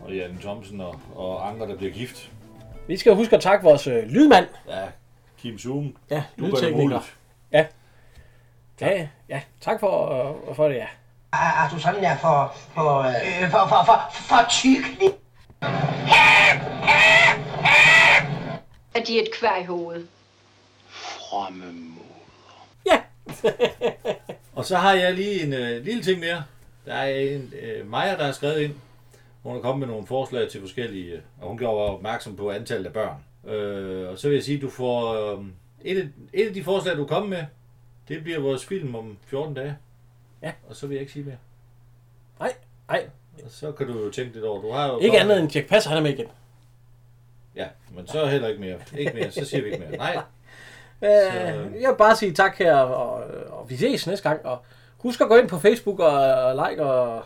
Speaker 2: Og Jan Thomsen og, og Anker, der bliver gift.
Speaker 1: Vi skal huske at takke vores øh, lydmand.
Speaker 2: Ja, Kim Zoom.
Speaker 1: Ja,
Speaker 2: Nu gør det
Speaker 1: lydtekniker.
Speaker 2: muligt.
Speaker 1: Ja. Ja, ja, tak for, øh, for det, ja.
Speaker 5: Er, er du sådan der for, for, øh, for, for, for, for tykning?
Speaker 16: At de er et kvær i hovedet.
Speaker 2: Fromme moder. Ja. og så har jeg lige en øh, lille ting mere. Der er en øh, Maja, der har skrevet ind. Hun er kommet med nogle forslag til forskellige, øh, og hun gjorde opmærksom på antallet af børn. Øh, og så vil jeg sige, at du får... Øh, et, af, et af de forslag, du kom med, det bliver vores film om 14 dage.
Speaker 1: Ja.
Speaker 2: Og så vil jeg ikke sige mere.
Speaker 1: Nej, nej.
Speaker 2: Så kan du jo tænke lidt over. Du har jo
Speaker 1: Ikke andet end Jack Passer, han er med igen.
Speaker 2: Ja, men så heller ikke mere. Ikke mere, så siger vi ikke mere. Nej.
Speaker 1: Øh, jeg vil bare sige tak her, og, øh, og vi ses næste gang. Og husk at gå ind på Facebook og, og like og...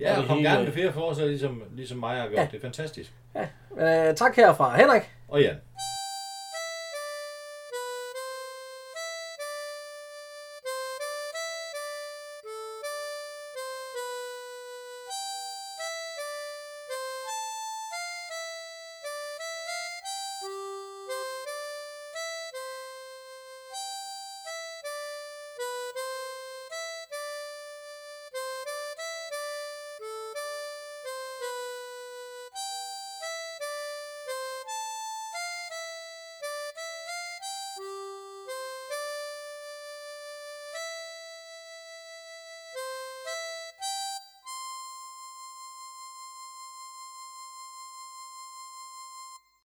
Speaker 2: Ja,
Speaker 1: og
Speaker 2: og
Speaker 1: det
Speaker 2: kom
Speaker 1: hele.
Speaker 2: gerne med flere forslag, ligesom, ligesom mig har gjort.
Speaker 1: Ja.
Speaker 2: Det er fantastisk.
Speaker 1: Øh, tak her fra Henrik.
Speaker 2: Og Jan.